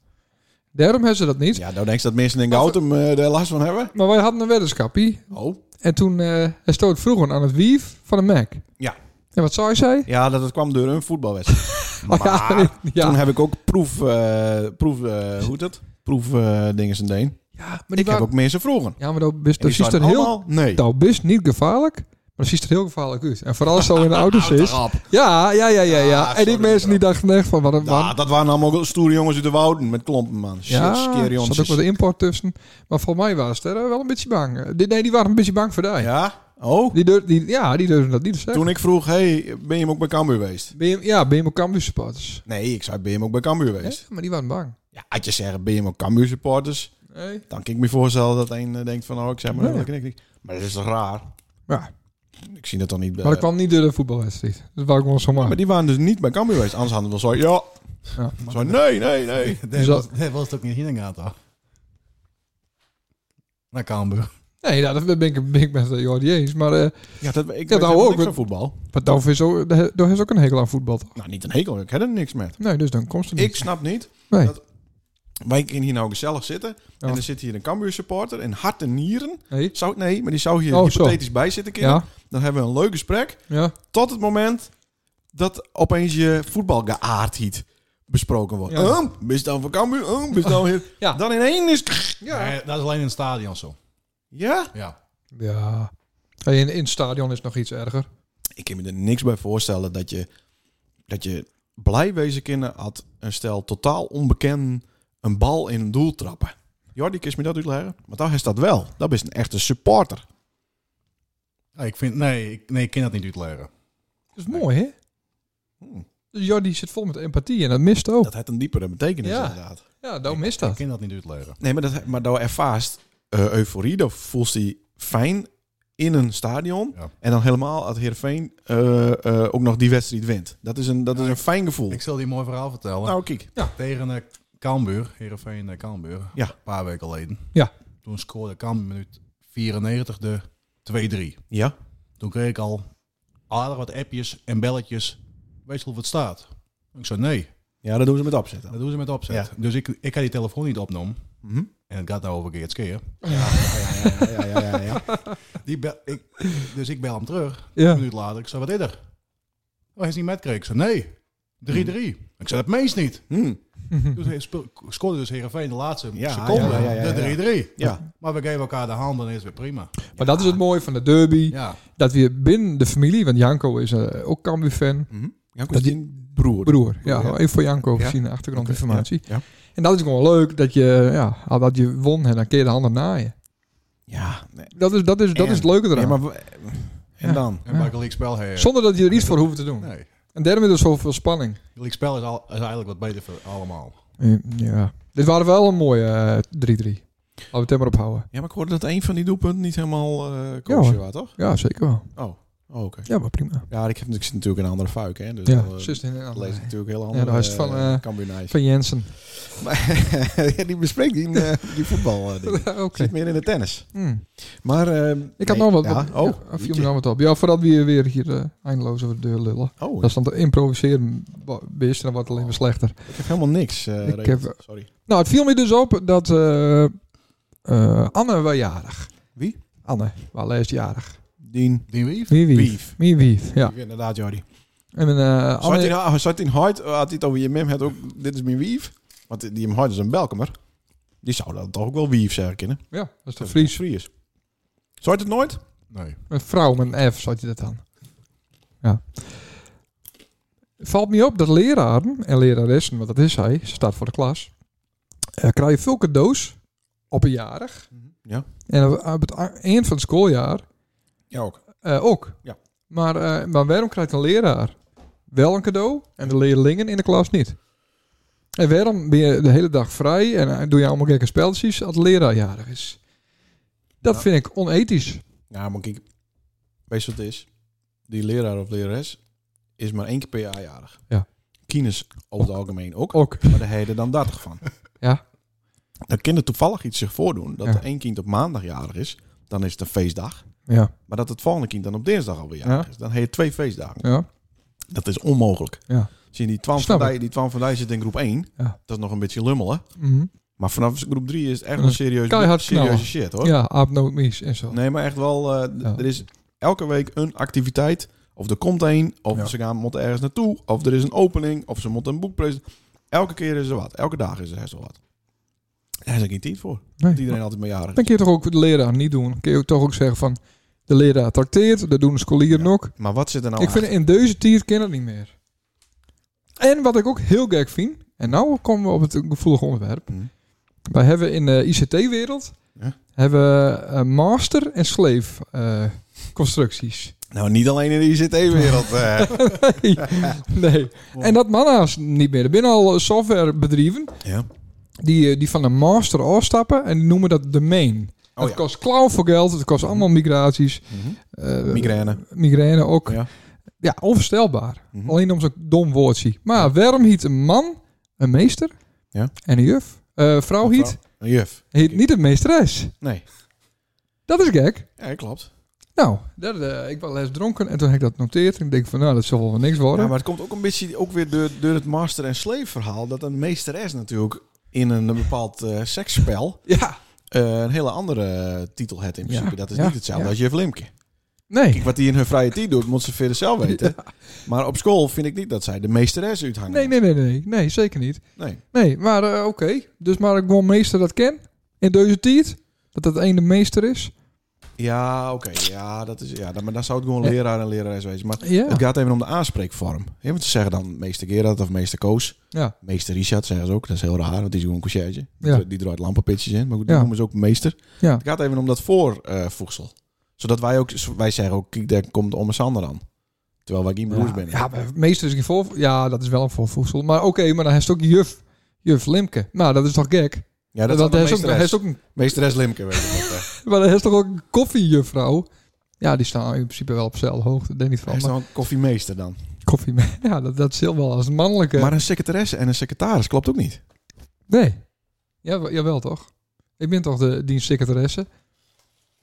S1: Daarom hebben ze dat niet.
S3: Ja, nou denk je dat mensen in de auto hem, eh, daar last van hebben?
S1: Maar wij hadden een weddenschapje.
S3: Oh.
S1: En toen eh hij stoot vroeger aan het wief van de Mac.
S3: Ja.
S1: En wat zei zij?
S3: Ja, dat het kwam door een voetbalwedstrijd.
S1: Oh, ja,
S3: Maar
S1: ja.
S3: toen heb ik ook proef... eh proef eh, hoe heet dat? Proef eh dingen zijn deen.
S1: Ja, maar die
S3: Ik heb
S1: waren-
S3: ook mensen vroegen.
S1: Ja, maar dat bist,
S3: En
S1: dat
S3: die
S1: is er
S3: zeiden
S1: heel...
S3: allemaal Nee.
S1: Dat bist niet gevaarlijk, maar dat ziet er heel gevaarlijk uit. En vooral als het zo in de auto's is. Ja, ja, ja, ja, ja.
S3: Ah,
S1: en die
S3: sorry,
S1: mensen die dachten echt van, wat een...
S3: Ja, dat waren allemaal stoere jongens uit de wouden met klompen, man. Shit,
S1: Ja,
S3: scary
S1: er zat ook
S3: hondjes.
S1: wat import tussen. Maar volgens mij waren ze er eh, wel een beetje bang. Eh, die- Nee, die waren een beetje bang voor die.
S3: Ja? Oh,
S1: Die durf, die, ja, die durfden dat niet te zeggen.
S3: toen ik vroeg, hey, ben je hem ook bij Cambuur geweest?
S1: Ben je, ja, ben je mijn Cambuur supporters?
S3: Nee, ik zei, ben je hem ook bij Cambuur
S1: Ja,
S3: geweest?
S1: maar die waren bang.
S3: Ja, had je zeggen, ben je hem ook Cambuur supporters?
S1: Nee.
S3: Dan kan ik me voorstellen dat een eh, denkt van, oh, ik zeg maar,
S1: Ja.
S3: dat knik ik. Maar dat is toch raar?
S1: Ja,
S3: Ik zie dat dan niet bij...
S1: maar dat kwam niet door de voetbalwedstrijd. Dat wou ik wel zo
S3: Eh. Maar
S1: maken.
S3: die waren dus niet bij Cambuur geweest. Anders hadden we wel zo, ja.
S1: Ja.
S3: Zo, nee, nee, nee.
S2: Dat
S1: dat-
S2: was, dat was het ook niet in de gaten. Naar Cambuur.
S1: Nee, nou, dat ben ik, ben ik met eh, Jordi eens. Maar eh
S3: Ja, dat, ik
S1: dat
S3: weet
S1: hou
S3: ook
S1: ook.
S3: niks van voetbal.
S1: maar Doof is ook, de- Doof heeft ook een hekel aan voetbal. toch?
S3: Nou, niet een hekel. Ik heb er niks met.
S1: Nee, dus dan komt ze niet.
S3: Ik snap niet.
S1: Nee.
S3: dat- Wij kunnen hier nou gezellig zitten.
S1: Ja.
S3: En er zit hier een Cambuur supporter in hart en nieren.
S1: Nee.
S3: Zou, nee, maar die zou hier
S1: Oh,
S3: hypothetisch bij zitten. Kinderen.
S1: Ja,
S3: Dan hebben we een leuk gesprek.
S1: ja.
S3: Tot het moment dat opeens je voetbalgeaardheid besproken wordt.
S1: Ja.
S3: Oh, bist dan van Cambuur? Oh, bist dan hier?
S1: Ja.
S3: Dan in één is...
S1: Ja.
S2: Nee, Eh, dat is alleen in het stadion zo.
S3: Ja?
S2: Ja.
S1: ja. Hey, in, in het stadion is het nog iets erger.
S3: Ik kan me er niks bij voorstellen dat je, dat je blij wezen kinderen had een stel totaal onbekend een bal in een doel trappen. Jordi, kist me dat uitleggen? Maar daar is dat wel. Dat is een echte supporter.
S2: Ja, ik vind, nee, ik, nee, ik ken dat niet uitleggen.
S1: Dat is mooi, hè?
S3: Hmm.
S1: Jordi zit vol met empathie en dat mist ook.
S3: Dat heeft een diepere betekenis
S1: Ja.
S3: inderdaad.
S1: Ja, Doof mist
S2: Ik
S1: dat.
S2: ken dat niet uitleggen.
S3: Nee, maar, dat, maar daar ervaast eh, euforie. Dan voelt hij fijn in een stadion.
S2: Ja.
S3: En dan helemaal als Heerenveen eh, eh, ook nog die wedstrijd wint. Dat is een, dat is een fijn gevoel.
S2: Ik zal je een mooi verhaal vertellen.
S3: Nou, kijk.
S2: Tegen eh Cambuur, Heerenveen eh, Cambuur.
S3: Ja.
S2: Een paar weken geleden.
S1: Ja.
S2: Toen scoorde Cambuur minuut 94 de 2-3.
S3: Ja.
S2: Toen kreeg ik al aardig wat appjes en belletjes. Weet je hoe het staat? Ik zei nee,
S3: ja, dat doen ze met opzet. dan.
S2: dat doen ze met opzet.
S3: Ja.
S2: Dus ik, ik had die telefoon niet opnomen.
S3: Mhm.
S2: En het gaat nou over Geertskeer.
S3: Ja, ja, ja, ja, ja.
S2: Die bel, ik, dus ik bel hem terug. Een
S1: Ja.
S2: minuut later. Ik zei, wat is er? Oh, hij is niet met kreeg. Ik zei, nee. 3-3.
S3: Hmm.
S2: Ik zei, dat meens niet.
S3: Hm.
S2: Dus hij speel- scoorde dus Heerenveen de laatste
S3: Ja,
S2: seconde.
S3: ja, ja, ja, ja.
S2: De 3-3.
S3: Ja.
S2: Maar we geven elkaar de hand, dan is het weer prima.
S1: Maar dat is het mooie van de derby.
S2: Ja.
S1: Dat we binnen de familie, want Janko is eh, ook Cambuur-fan.
S3: Mhm. Ja,
S1: Dat die-
S3: broer.
S1: Broer, ja.
S3: Broer, ja.
S1: Even voor Janko
S3: Ja.
S1: gezien de achtergrondinformatie.
S3: Ja.
S1: En dat is gewoon leuk dat je, ja, al dat je won en dan keer de handen naaien.
S3: Ja, nee.
S1: Dat is, dat is, dat
S3: En-
S1: is het leuke eraan.
S3: Ja, maar w- en
S1: Ja.
S3: dan?
S2: En bij gelijk spel... Hey,
S1: Zonder dat je er iets voor hoeft te doen.
S2: Nee.
S1: En daarom is er zoveel spanning.
S2: Gelijk spel is, al, is eigenlijk wat beter voor allemaal.
S1: Ja. Dit waren wel een mooie eh, 3-3. Laten we het er maar op houden.
S3: Ja, maar ik hoorde dat een van die doelpunten niet helemaal eh koosje
S1: hoor.
S3: was, toch?
S1: Ja, zeker wel.
S3: Oh, oh, oké.
S1: Ja, maar prima.
S3: Ja, ik, heb, ik zit natuurlijk in een andere fuik, hè. Dus
S1: Ja,
S3: dan, eh,
S1: zus in een andere.
S3: lees ik natuurlijk heel
S1: Ja,
S3: anders.
S1: daar is het van, eh,
S3: Cambuur Nice.
S1: Van Jensen.
S3: Maar die bespreekt die, eh, die voetbal. eh, ding.
S1: Oké.
S3: Zit meer in de tennis.
S1: Hm.
S3: Maar ehm,
S1: Ik had
S3: nee,
S1: nog wat.
S3: ja,
S1: wat-
S3: oh,
S1: ja, viel
S3: jeetje.
S1: me nou wat op. Ja, voordat we hier weer hier eh, eindeloos over de deur lullen.
S3: oh,
S1: Dat is dan te improviseren, wa- beest, en dan wordt het alleen maar slechter.
S3: ik heb helemaal niks. eh,
S1: Ik
S3: Reed.
S1: heb-
S3: Sorry.
S1: Nou, het viel me dus op dat eh, eh, Anne was jarig.
S3: Wie?
S1: Anne, was laatst jarig.
S3: Dien.
S2: Dien Wief?
S1: Wie wief?
S3: Wief.
S1: Wie wief, ja.
S3: Wief, Inderdaad, Jordi.
S1: En eh
S3: Zat
S1: Anne...
S3: hij- nou- Zat hij in Hoyt, had hij het over je mem, had ook, dit is mijn wief. Want die hem Hoyt is een Belkemer. Die zou dat toch ook wel wief zeggen kunnen.
S1: Ja, dat is de Fries.
S3: Fries. Zou het nooit?
S2: Nee.
S1: Met vrouw, met een F, zat je dat dan. Ja. Valt me op dat leraren en leraressen, want dat is hij, ze staat voor de klas, eh, krijgen veel cadeaus op een jarig.
S3: Mhm, Ja.
S1: En op het a- eind van het schooljaar
S3: Ja, ook.
S1: eh, ook.
S3: Ja.
S1: Maar, eh, maar waarom krijgt een leraar wel een cadeau en de leerlingen in de klas niet? En waarom ben je de hele dag vrij en eh, doe je allemaal gekke spelletjes als de leraar jarig is? Dat
S3: Ja.
S1: vind ik onethisch.
S3: Ja, maar kijk, weet je wat het is? Die leraar of lerares is maar één keer per jaar jarig.
S1: Ja.
S3: Kines over het algemeen ook,
S1: Ook.
S3: maar de heden dan 30 van.
S1: Ja.
S3: Dan kan er toevallig iets zich voordoen dat
S1: Ja.
S3: er één kind op maandag jarig is, dan is het een feestdag.
S1: Ja.
S3: Maar dat het volgende kind dan op dinsdag alweer jarig is, dan heb je twee feestdagen.
S1: ja.
S3: Dat is onmogelijk.
S1: Ja.
S3: Zie je, die Twan van
S1: Snap
S3: Dijk, die Twan van Dijk zit in groep 1.
S1: Ja.
S3: Dat is nog een beetje lummelen.
S1: Mhm.
S3: Maar vanaf groep 3 is het echt
S1: Ja,
S3: wel serieus,
S1: keihard
S3: serieuze
S1: knallen.
S3: shit hoor.
S1: Ja, abnootmies en zo.
S3: Nee, maar echt wel. eh, d-
S1: Ja.
S3: Er is elke week een activiteit. Of er komt een. Of
S1: Ja.
S3: ze gaan, moeten ergens naartoe. Of er is een opening. Of ze moeten een boek presenteren. Elke keer is er wat. Elke dag is er echt wel wat. Ja, Daar is er geen tijd voor.
S1: Nee.
S3: Want iedereen altijd maar jaren.
S1: Dan kun je toch ook de leraar niet doen. Dan kun je toch ook zeggen van de leraar trakteert, dat doen de scholieren
S3: Ja.
S1: ook.
S3: Maar wat zit er nou
S1: ik vind
S3: achter?
S1: in deze tier ken het niet meer. En wat ik ook heel gek vind, en nou komen we op het gevoelige onderwerp.
S3: Mhm.
S1: Wij hebben in de ICT-wereld
S3: Ja.
S1: hebben we, eh, master en slave eh, constructies.
S3: Nou, niet alleen in de ICT-wereld. eh.
S1: nee. nee. En dat manna's niet meer. Er zijn al softwarebedrijven
S3: ja.
S1: die, eh, die van een master afstappen en die noemen dat domain.
S3: Oh
S1: het
S3: ja.
S1: kost klauw voor geld, het kost allemaal migraties.
S3: Mhm.
S1: eh,
S3: Migraine.
S1: migraine ook.
S3: Ja.
S1: Ja, onvoorstelbaar.
S3: Mhm.
S1: Alleen om zo'n dom woordje. Maar waarom hiet een man een meester
S3: Ja.
S1: en een juf? Eh, vrouw
S3: Een
S1: hiet,
S3: vrouw. Een juf.
S1: hiet niet een meesteres.
S3: Nee.
S1: Dat is gek.
S3: Ja, klopt.
S1: Nou, dat, eh, ik was les dronken en toen heb ik dat noteerd. En ik denk van, nou, dat zal wel niks worden.
S3: Ja, maar het komt ook een beetje ook weer door, door het master- en slave-verhaal... dat een meesteres natuurlijk in een bepaald eh, seksspel...
S1: Ja.
S3: eh, een hele andere eh, titel heeft in principe.
S1: Ja.
S3: Dat is
S1: Ja.
S3: niet hetzelfde
S1: Ja.
S3: als juf Limke.
S1: Nee.
S3: Kijk, wat die in hun vrije tijd doet, moet ze verder zelf weten. Maar op school vind ik niet dat zij de meesteres uithangen.
S1: Nee, nee, nee, nee. Nee, zeker niet.
S3: nee.
S1: Nee, maar eh, oké. Dus maar ik gewoon meester dat ken. In deze tijd. Dat dat een de meester is.
S3: Ja, oké. Ja, dat is, ja, dan- maar dan zou het gewoon leraar en lerares wezen. Maar
S1: Ja.
S3: het gaat even om de aanspreekvorm. Ja, want ze zeggen dan meester Gerard of meester Koos.
S1: Ja.
S3: Meester Richard zeggen ze ook. Dat is heel raar, want die is gewoon een conciërge.
S1: Ja.
S3: Die, die draait lampenpitjes in, maar goed, die
S1: Ja.
S3: noemen ze ook meester.
S1: Ja.
S3: Het gaat even om dat voorvoegsel. Zodat wij ook, wij zeggen ook, kijk, daar komt Omme Sander aan. Terwijl wij geen broers
S1: Ja,
S3: binnen.
S1: Ja, maar meester is geen voor. Ja, dat is wel een voorvoegsel. Maar oké, maar dan heeft ook juf. Juf Limke. Nou, dat is toch gek?
S3: ja dat
S1: Want
S3: is
S1: hij
S3: dan
S1: is ook, hij is
S3: meesteres.
S1: ook een,
S3: Meesteres Limke, weet ik niet. eh.
S1: maar hij is toch ook een koffiejuffrouw? Ja, die staan in principe wel op dezelfde hoogte. Denk niet
S3: Hij
S1: van.
S3: is
S1: Maar
S3: dan een koffiemeester dan.
S1: koffie, ja, dat, dat zit wel als een mannelijke.
S3: Maar een secretaresse en een secretaris klopt ook niet.
S1: nee. Ja, wa- jawel toch? Ik ben toch de dienstsecretaresse?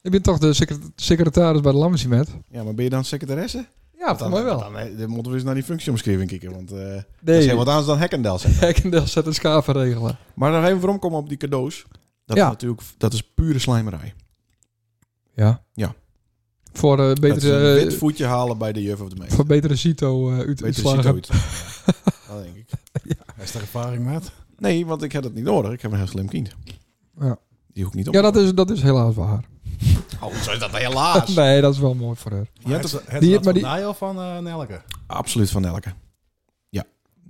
S1: Ik ben toch de secre- secretaris bij de Lammersimet?
S3: Ja, maar ben je dan secretaresse?
S1: Ja, voor mij wel.
S3: Dan, eh, dan moeten we eens naar die functieomschrijving kijken, want eh dat is
S1: Nee,
S3: heel wat anders dan Hekkendel.
S1: Hekkendel zet een schaven regelen.
S3: Maar dan even vooromkomen op die cadeaus. Dat
S1: Ja.
S3: is natuurlijk dat is pure slijmerij.
S1: Ja.
S3: Ja.
S1: Voor eh,
S3: Dat is
S1: betere... eh,
S3: een wit voetje halen bij de juf of de meester.
S1: Voor betere Cito eh uit,
S3: Beter ziet
S1: uitslagen.
S3: ooit. eh, dat denk ik.
S2: Is er ervaring, maat?
S3: Nee, want ik heb het niet nodig. Ik heb een heel slim kind.
S1: Ja.
S3: Die hoef ik niet op.
S1: Ja, dat is, dat is helaas waar.
S3: Oh, zo is dat helaas.
S1: Nee, dat is wel mooi voor haar.
S2: Je hebt het
S1: die-
S2: die,
S1: maar
S2: maar
S1: die-
S2: van eh Nelke.
S3: Absoluut van elke.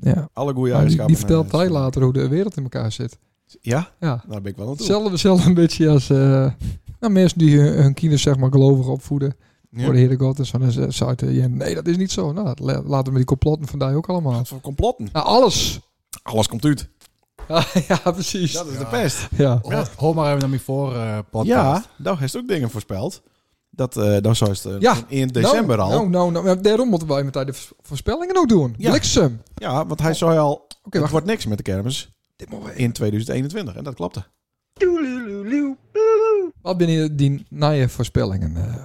S1: Ja.
S3: Alle goede
S1: Maar die,
S3: eigenschappen.
S1: die vertelt
S3: eh,
S1: hij later hoe de wereld in elkaar zit.
S3: Ja,
S1: Ja.
S3: daar ben ik wel aan toe.
S1: Hetzelfde, hetzelfde een beetje als eh, nou, mensen die hun, hun kinderen zeg maar gelovig opvoeden.
S3: Ja.
S1: Voor de Heere God. En zo, dan ze- zou het, eh, Jen, nee, dat is niet zo. Nou, dat la- laten we die complotten vandaag ook allemaal.
S3: Wat voor complotten.
S1: Nou, alles.
S3: Alles komt uit.
S1: Ja, ja, precies.
S3: Dat is de pest.
S1: Ja.
S2: Hoor, hoor maar even naar mijn voor eh, podcast.
S3: Oh. Ja, nou heeft ook dingen voorspeld. Dat, eh dan zou het eh,
S1: Ja.
S3: in december
S1: nou,
S3: al.
S1: Nou, nou, nou, maar daarom moeten wij meteen de vo- voorspellingen ook doen.
S3: Ja.
S1: Bliksem. Oké,
S3: Ja, want hij zei al, het
S1: wacht.
S3: wordt niks met de kermis in 2021. En dat klopte.
S1: Wat ben je die naaie voorspellingen, eh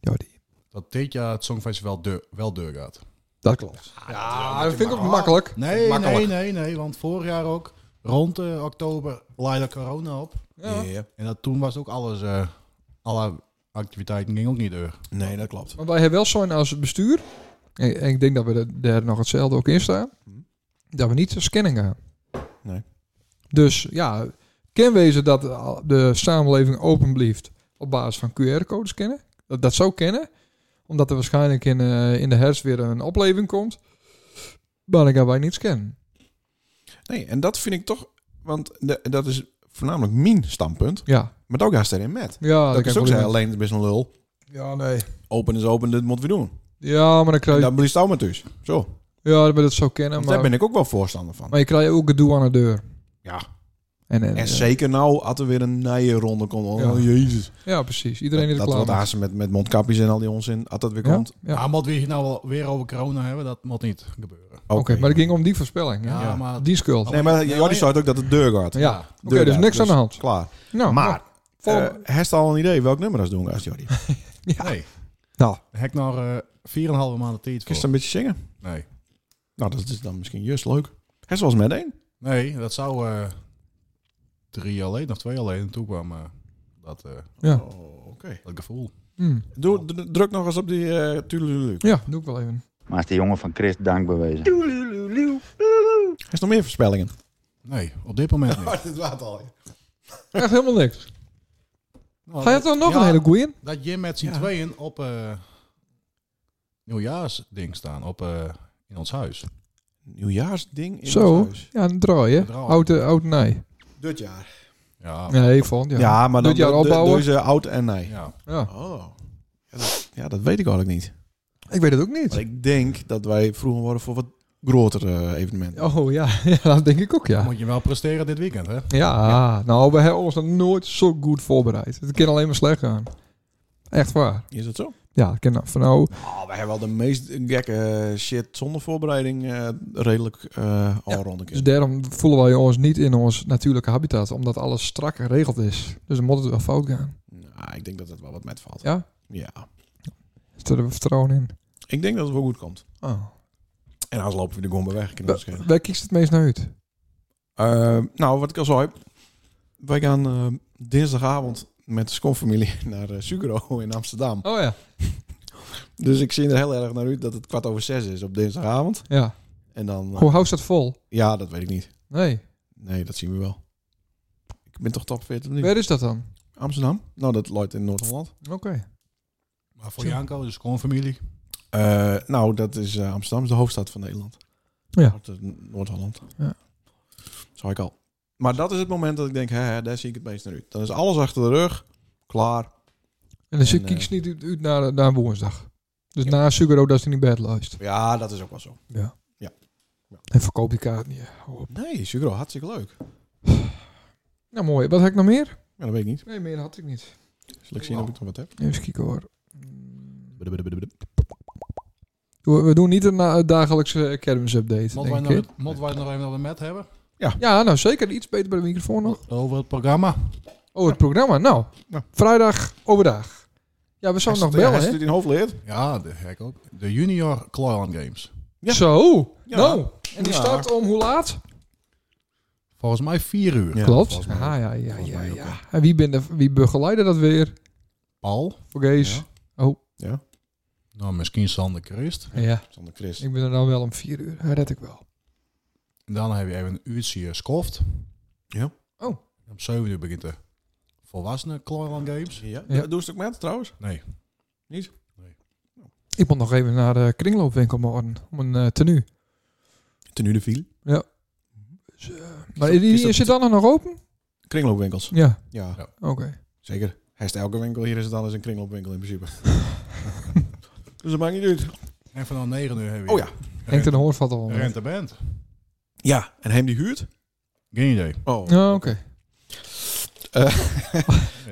S1: Jordi?
S2: Dat dit jaar het Songfestival deur, wel deur gaat.
S1: Dat klopt. Ja, dat vind ik ook makkelijk.
S2: Nee,
S3: Makkelijk.
S2: nee, nee, nee. Want vorig jaar ook, rond eh, oktober, laaide corona op.
S1: Ja.
S2: En dat, toen was ook alles, eh, alle activiteiten gingen ook niet door.
S3: Nee, dat klopt.
S1: Maar wij hebben wel zo'n als bestuur. En, en ik denk dat we er- daar nog hetzelfde ook in staan. Dat we niet te scannen gaan.
S3: Nee.
S1: Dus ja, het kan wezen dat de- de samenleving open blijft op basis van QR-codes kennen. Dat, dat zou kennen. Omdat er waarschijnlijk in, eh, in de herfst weer een opleving komt. Maar dan gaan wij niet scannen.
S3: Nee, en dat vind ik toch, want de- dat is voornamelijk mijn standpunt.
S1: Ja,
S3: Maar ook haast erin met.
S1: ja
S3: dat
S1: Ah, kan
S3: is
S1: ik
S3: ook
S1: wel
S3: zei,
S1: in-
S3: alleen het is een lul.
S1: Ja, nee.
S3: Open is open, dit moeten we doen.
S1: Ja, maar dan krijg
S3: En
S1: je...
S3: dan blijft het ook maar dus. Zo. Want
S1: Ja, maar dat zou kennen.
S3: daar
S1: Maar,
S3: ben ik ook wel voorstander van.
S1: maar je krijgt ook gedoe aan de deur.
S3: Ja.
S1: En, eh, en,
S3: En zeker nou, als er weer een nije ronde komt. Oh,
S1: Ja.
S3: jezus.
S1: ja, precies. Iedereen
S3: dat
S1: die er
S3: dat
S1: klaar
S3: wordt
S1: mee is.
S3: haast met, met mondkapjes en al die onzin. Als dat weer
S1: Ja,
S3: komt.
S1: ja.
S2: Maar moet we het nou wel weer over corona hebben? Dat moet niet gebeuren.
S1: Oké, maar het ging om die voorspelling. Ja.
S2: Ja, maar...
S1: Die schuld.
S3: Nee, maar
S2: Ja,
S3: Jordi
S2: ja.
S3: zei het ook dat het deur gaat.
S1: Ja. Oké, dus
S3: gaat.
S1: niks aan de hand.
S3: Klaar.
S1: Nou,
S3: Maar,
S1: nou,
S3: eh, heeft al een idee welk nummer dat doen als Jordi?
S2: Nee.
S1: Nou.
S2: Daar Heb ik nog eh 4,5 maanden tijd
S3: Kun je
S2: voor.
S3: een beetje zingen?
S2: Nee.
S3: Nou, dat is dan misschien juist leuk. Hij was met één.
S2: Nee, dat zou eh, drie alleen of twee alleen. En toen kwam eh, dat, eh,
S1: Ja.
S3: Oh, oké.
S2: dat gevoel.
S1: hm.
S3: Doe- d- Druk nog eens op die eh tulululu.
S1: ja, doe ik wel even.
S7: Maar is de jongen van Chris dankbewezen.
S3: Hij is nog meer voorspellingen.
S2: Nee, op dit moment niet.
S3: dit laat al.
S1: Echt helemaal niks. Ga je dan nog
S2: Nou, Ja,
S1: een hele goeie in?
S2: Dat Jim met z'n tweeën op eh nieuwjaarsding staan op, eh, in ons huis.
S3: Nieuwjaarsding in
S1: Zo.
S3: ons huis.
S1: Ja, een draai, hè?
S2: Draai.
S1: Oud, eh, oud nee.
S3: Dit jaar.
S2: Ja, ja.
S1: Nee, vond ja.
S3: Ja, maar dan
S1: Dit jaar
S3: de- de-
S1: opbouwen?
S3: deze oud en nee.
S1: Ja.
S3: Oh. Ja dat, ja, dat weet ik eigenlijk niet.
S1: Ik weet het ook niet.
S3: Maar ik denk dat wij vroeger worden voor wat grotere eh, evenementen.
S1: Oh ja. ja, dat denk ik ook, ja.
S2: Moet je wel presteren dit weekend, hè?
S1: Ja, nou, we hebben ons nog nooit zo goed voorbereid. Het kan alleen maar slecht gaan. Echt waar.
S3: Is dat zo?
S1: Ja, het kan nou- van nou...
S3: Oh, wij hebben wel de meest gekke shit zonder voorbereiding eh, redelijk eh al rond een
S1: Dus
S3: keer.
S1: daarom voelen wij ons niet in ons natuurlijke habitat. Omdat alles strak geregeld is. Dus dan moet het wel fout gaan.
S3: Nou, ik denk dat het wel wat met valt.
S1: Ja?
S3: Ja.
S1: Is er vertrouwen in?
S3: Ik denk dat het wel goed komt.
S1: Oh.
S3: En als lopen we de gombe weg. Kunnen we het schelen.
S1: Waar kiest het meest naar uit?
S3: Eh, nou, wat ik al zei. Wij gaan eh, dinsdagavond met de schoonfamilie naar eh, Sugero in Amsterdam.
S1: Oh ja.
S3: Dus ik zie er heel erg naar uit dat het kwart over zes is op dinsdagavond.
S1: Ja.
S3: En dan... eh,
S1: Hoe houdt dat vol?
S3: Ja, dat weet ik niet.
S1: Nee.
S3: Nee, dat zien we wel. Ik ben toch top 40 nu.
S1: Waar is dat dan?
S3: Amsterdam? Nou, dat loopt in Noord-Holland.
S1: Oké.
S2: Maar voor Janko, de schoonfamilie.
S3: Eh, nou, dat is eh, Amsterdam, is de hoofdstad van Nederland.
S1: Ja.
S3: Hart- eh, Noord-Holland.
S1: Ja.
S3: Zou ik al. Maar dat is het moment dat ik denk, hè, hè, daar zie ik het meest naar uit. Dan is alles achter de rug, klaar.
S1: En dan
S3: En,
S1: en, kies niet uit, uit naar, naar woensdag. Dus
S3: Ja.
S1: na Sugaro dat hij niet bed luistert.
S3: Ja, dat is ook wel zo.
S1: Ja.
S3: Ja. Ja.
S1: En verkoop die kaart niet. Ja, hou op.
S3: Nee, Sugro, hartstikke leuk.
S1: Nou mooi. Wat heb ik nog meer?
S3: Ja, dat weet ik niet.
S1: Nee, meer had ik niet.
S3: Zal ik zien of ik nog wat heb?
S1: Even kijken hoor.
S2: Moeten
S1: We we doen niet een na- dagelijkse Academys update.
S2: wij,
S1: Denk
S2: nog-
S1: ik. hè?
S2: moeten wij het nog even over de met hebben?
S1: Ja, nou zeker iets beter bij de microfoon nog.
S2: Over het programma.
S1: Oh, het programma. Nou,
S3: Ja.
S1: vrijdag overdag. Ja, we
S3: Hij
S1: zouden nog
S3: zit-
S1: bellen,
S3: Hij
S1: hè?
S3: zit in hoofdleer.
S2: Ja, de gek ook. De Junior Cloyland Games.
S3: Ja.
S1: Zo.
S3: Ja.
S1: Nou, en die
S3: Ja.
S1: start om hoe laat?
S2: Volgens mij vier uur.
S3: Ja.
S1: Klopt.
S2: volgens mij
S1: Ah, ja, ja,
S3: Volgens
S1: ja,
S3: mij ook,
S1: ja. En wie, ben de, wie begeleidde dat weer?
S2: Paul.
S1: Voor Gees.
S3: Ja.
S2: Nou, misschien Sander Christ.
S1: Ja.
S3: Sander Christ.
S1: Ik ben er dan wel om vier uur. Dat red ik wel.
S2: En dan heb je even een uurtje skoft.
S3: Ja.
S1: Oh.
S2: Om zeven uur begint de volwassenen Cloyland Games.
S3: Ja.
S1: Ja.
S3: Doe een stuk met, trouwens.
S2: Nee.
S1: Ik moet nog even naar de kringloopwinkel morgen. Om een eh, tenue.
S3: Tenue de viel.
S1: Maar is, die-
S3: is dat-
S1: is het dan nog open?
S3: Kringloopwinkels.
S1: Ja.
S3: Ja,
S2: Ja.
S1: Oké.
S3: zeker. Hij is elke winkel. Hier is het alles een kringloopwinkel in principe. dus dat maakt niet uit.
S2: En vanaf negen uur heb je
S3: Oh ja.
S1: Henk ten Hoorn valt al onder.
S2: Rente Band.
S3: Ja, en hem die huurt?
S2: Geen idee.
S3: Oh.
S1: Ja, oké.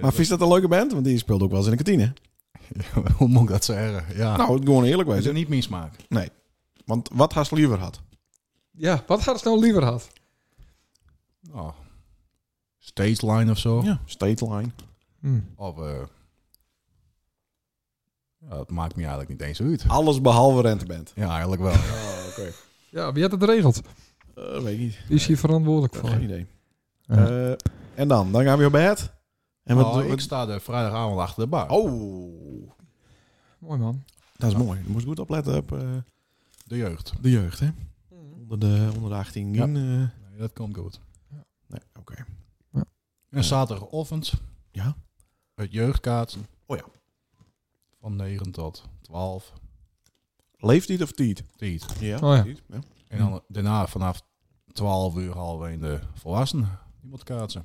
S3: Maar vind je dat een leuke band? Want die speelt ook wel eens in de kantine.
S2: Hoe moet ik dat zeggen? Ja.
S3: Nou, gewoon eerlijk
S2: is
S3: wezen.
S2: er niet mijn smaak.
S3: Want wat haast liever had?
S1: Ja, wat gaat het nou liever had?
S2: Oh. Stage line of zo.
S3: Ja. State Line.
S1: Hm.
S2: Of eh, ja, dat maakt me eigenlijk niet eens uit.
S3: Alles behalve renteband.
S2: Ja, eigenlijk wel. ja.
S3: Oh, oké.
S1: Ja, wie had het geregeld?
S3: Eh, weet ik niet.
S1: Wie is hier verantwoordelijk voor?
S3: Geen idee.
S1: Ja.
S3: Eh, en dan? Dan gaan we op bed. En wat,
S2: Oh,
S3: wat-
S2: ik sta de vrijdagavond achter de bar.
S3: Ah, oh,
S1: Mooi man.
S3: dat is mooi. Je moest goed opletten op eh,
S2: De jeugd.
S3: de jeugd, hè? Onder de, onder de 18.
S2: Ja.
S3: eh,
S2: Nee, dat komt goed.
S3: nee, oké.
S2: En zaterdagochtend.
S3: Ja.
S2: Het jeugdkaart.
S3: Oh ja.
S2: Van 9 tot 12.
S3: Leeftijd of tiet?
S2: Tiet.
S3: Ja,
S1: Oh ja.
S3: tiet, ja.
S2: En dan daarna vanaf 12 uur halen we in de volwassenen. Die moet kaatsen.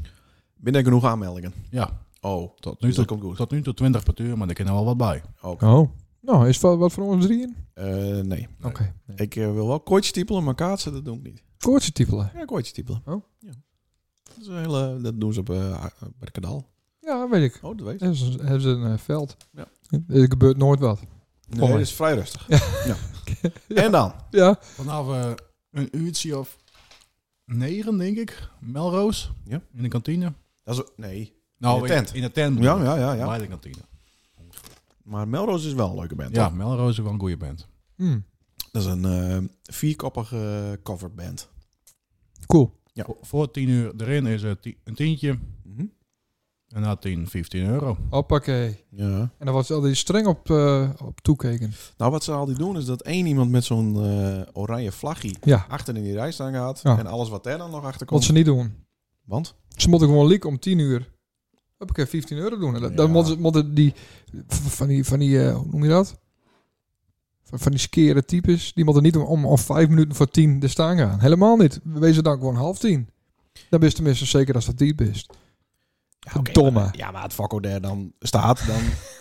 S3: Ben er genoeg aanmeldingen?
S2: Ja.
S3: Oh,
S2: Tot nu
S3: dus dat
S2: toe,
S3: komt goed.
S2: tot nu toe 20 per uur, maar er kan er wel wat bij.
S3: Oké.
S1: Oh. Nou, is wat, wat voor ons drieën?
S3: Eh, nee.
S1: Oké. Okay.
S3: Ik eh, wil wel koortjes typelen, maar kaatsen, dat doe ik niet.
S1: Koortje typelen.
S3: Ja, koortjes typelen.
S1: Oh.
S3: Ja. Dat, is een hele, dat doen ze op, eh, bij de kanaal.
S1: Ja, weet ik.
S3: Oh, dat weet ik.
S1: Hebben ze hebben ze een eh, veld.
S3: Ja.
S1: Er gebeurt nooit wat.
S3: Nee,
S1: Mooi.
S3: dat is vrij rustig. Ja. En dan?
S1: Ja.
S2: Vanaf eh, een uurtje of negen, denk ik. Melroos.
S3: Ja.
S2: In de kantine.
S3: Dat is, nee.
S2: Nou,
S3: In de tent.
S2: In, de tent.
S3: Ja,
S2: bedoel ik.
S3: ja, ja, ja.
S2: Bij de kantine.
S3: Maar Melrose is wel een leuke band.
S2: Ja,
S3: hoor.
S2: Melroos is wel een goede band.
S1: Hm.
S3: Dat is een eh, vierkoppige coverband.
S1: Cool.
S3: Ja.
S2: Voor, voor tien uur erin is het ti- een tientje.
S1: Mhm.
S2: En na 10, 15 euro.
S1: Hoppakee.
S3: Ja.
S1: En daar was al die streng op, eh, op toekeken.
S3: Nou, wat ze al die doen is dat één iemand met zo'n eh, oranje vlaggie
S1: Ja.
S3: achter in die rij staan gaat.
S1: Ja.
S3: En alles wat daar dan nog achter
S1: Wat
S3: komt,
S1: ze niet doen.
S3: Want?
S1: Ze moeten gewoon liek om 10 uur. Heb ik 15 euro doen. En dat, dan
S3: Ja.
S1: moeten ze- moeten die van die, van die eh, hoe noem je dat? Van, van die skere types, die moeten niet om, om, om 5 minuten voor 10 er staan gaan. Helemaal niet. We wezen dan gewoon half 10. Dan ben je tenminste zeker als dat diep is.
S3: Ja, oké,
S1: Domme.
S3: maar- ja, maar het fakko daar dan staat, dan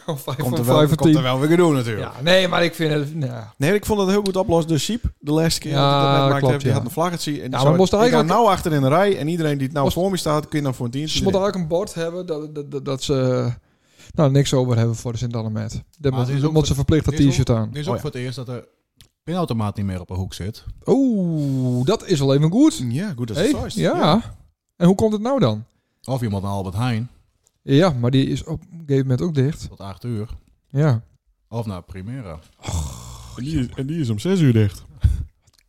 S1: Om 5
S3: komt,
S1: voor
S3: er wel,
S1: 5 voor
S3: komt er
S1: 10.
S3: wel weer gedoe natuurlijk.
S1: Ja, nee, maar ik vind het. Ja.
S3: Nee, ik vond het heel goed oplossen. De Siep, de laatste keer
S1: Ja,
S3: dat ik dat net maakte,
S1: klopt,
S3: heeft, die
S1: ja.
S3: had een vlaggetje. En die
S1: maar
S3: zei,
S1: moest
S3: ik
S1: eigenlijk-
S3: ga nou achter in de rij en iedereen die het nou
S1: Moest-
S3: voor me staat, kun je dan voor een tientje
S1: Ze moeten
S3: drinken.
S1: ook een bord hebben dat, dat, dat, dat ze nou, niks over hebben voor de Sint-Annemet. Dan
S2: Maar het is ook
S1: moeten ze verplicht dat
S2: het is ook-
S1: t-shirt aan.
S2: Dit is
S3: Oh
S2: ook
S3: ja.
S2: voor het eerst dat de pinautomaat niet meer op een hoek zit.
S1: Oeh, dat is wel even goed.
S3: Ja, goed dat
S1: Hey,
S3: is het
S1: ja. En hoe komt het nou dan?
S2: Of iemand naar Albert Heijn
S1: Ja, maar die is op een gegeven moment ook dicht.
S2: tot 8 uur.
S1: Ja.
S2: Of naar Primera.
S3: En die is om 6 uur dicht.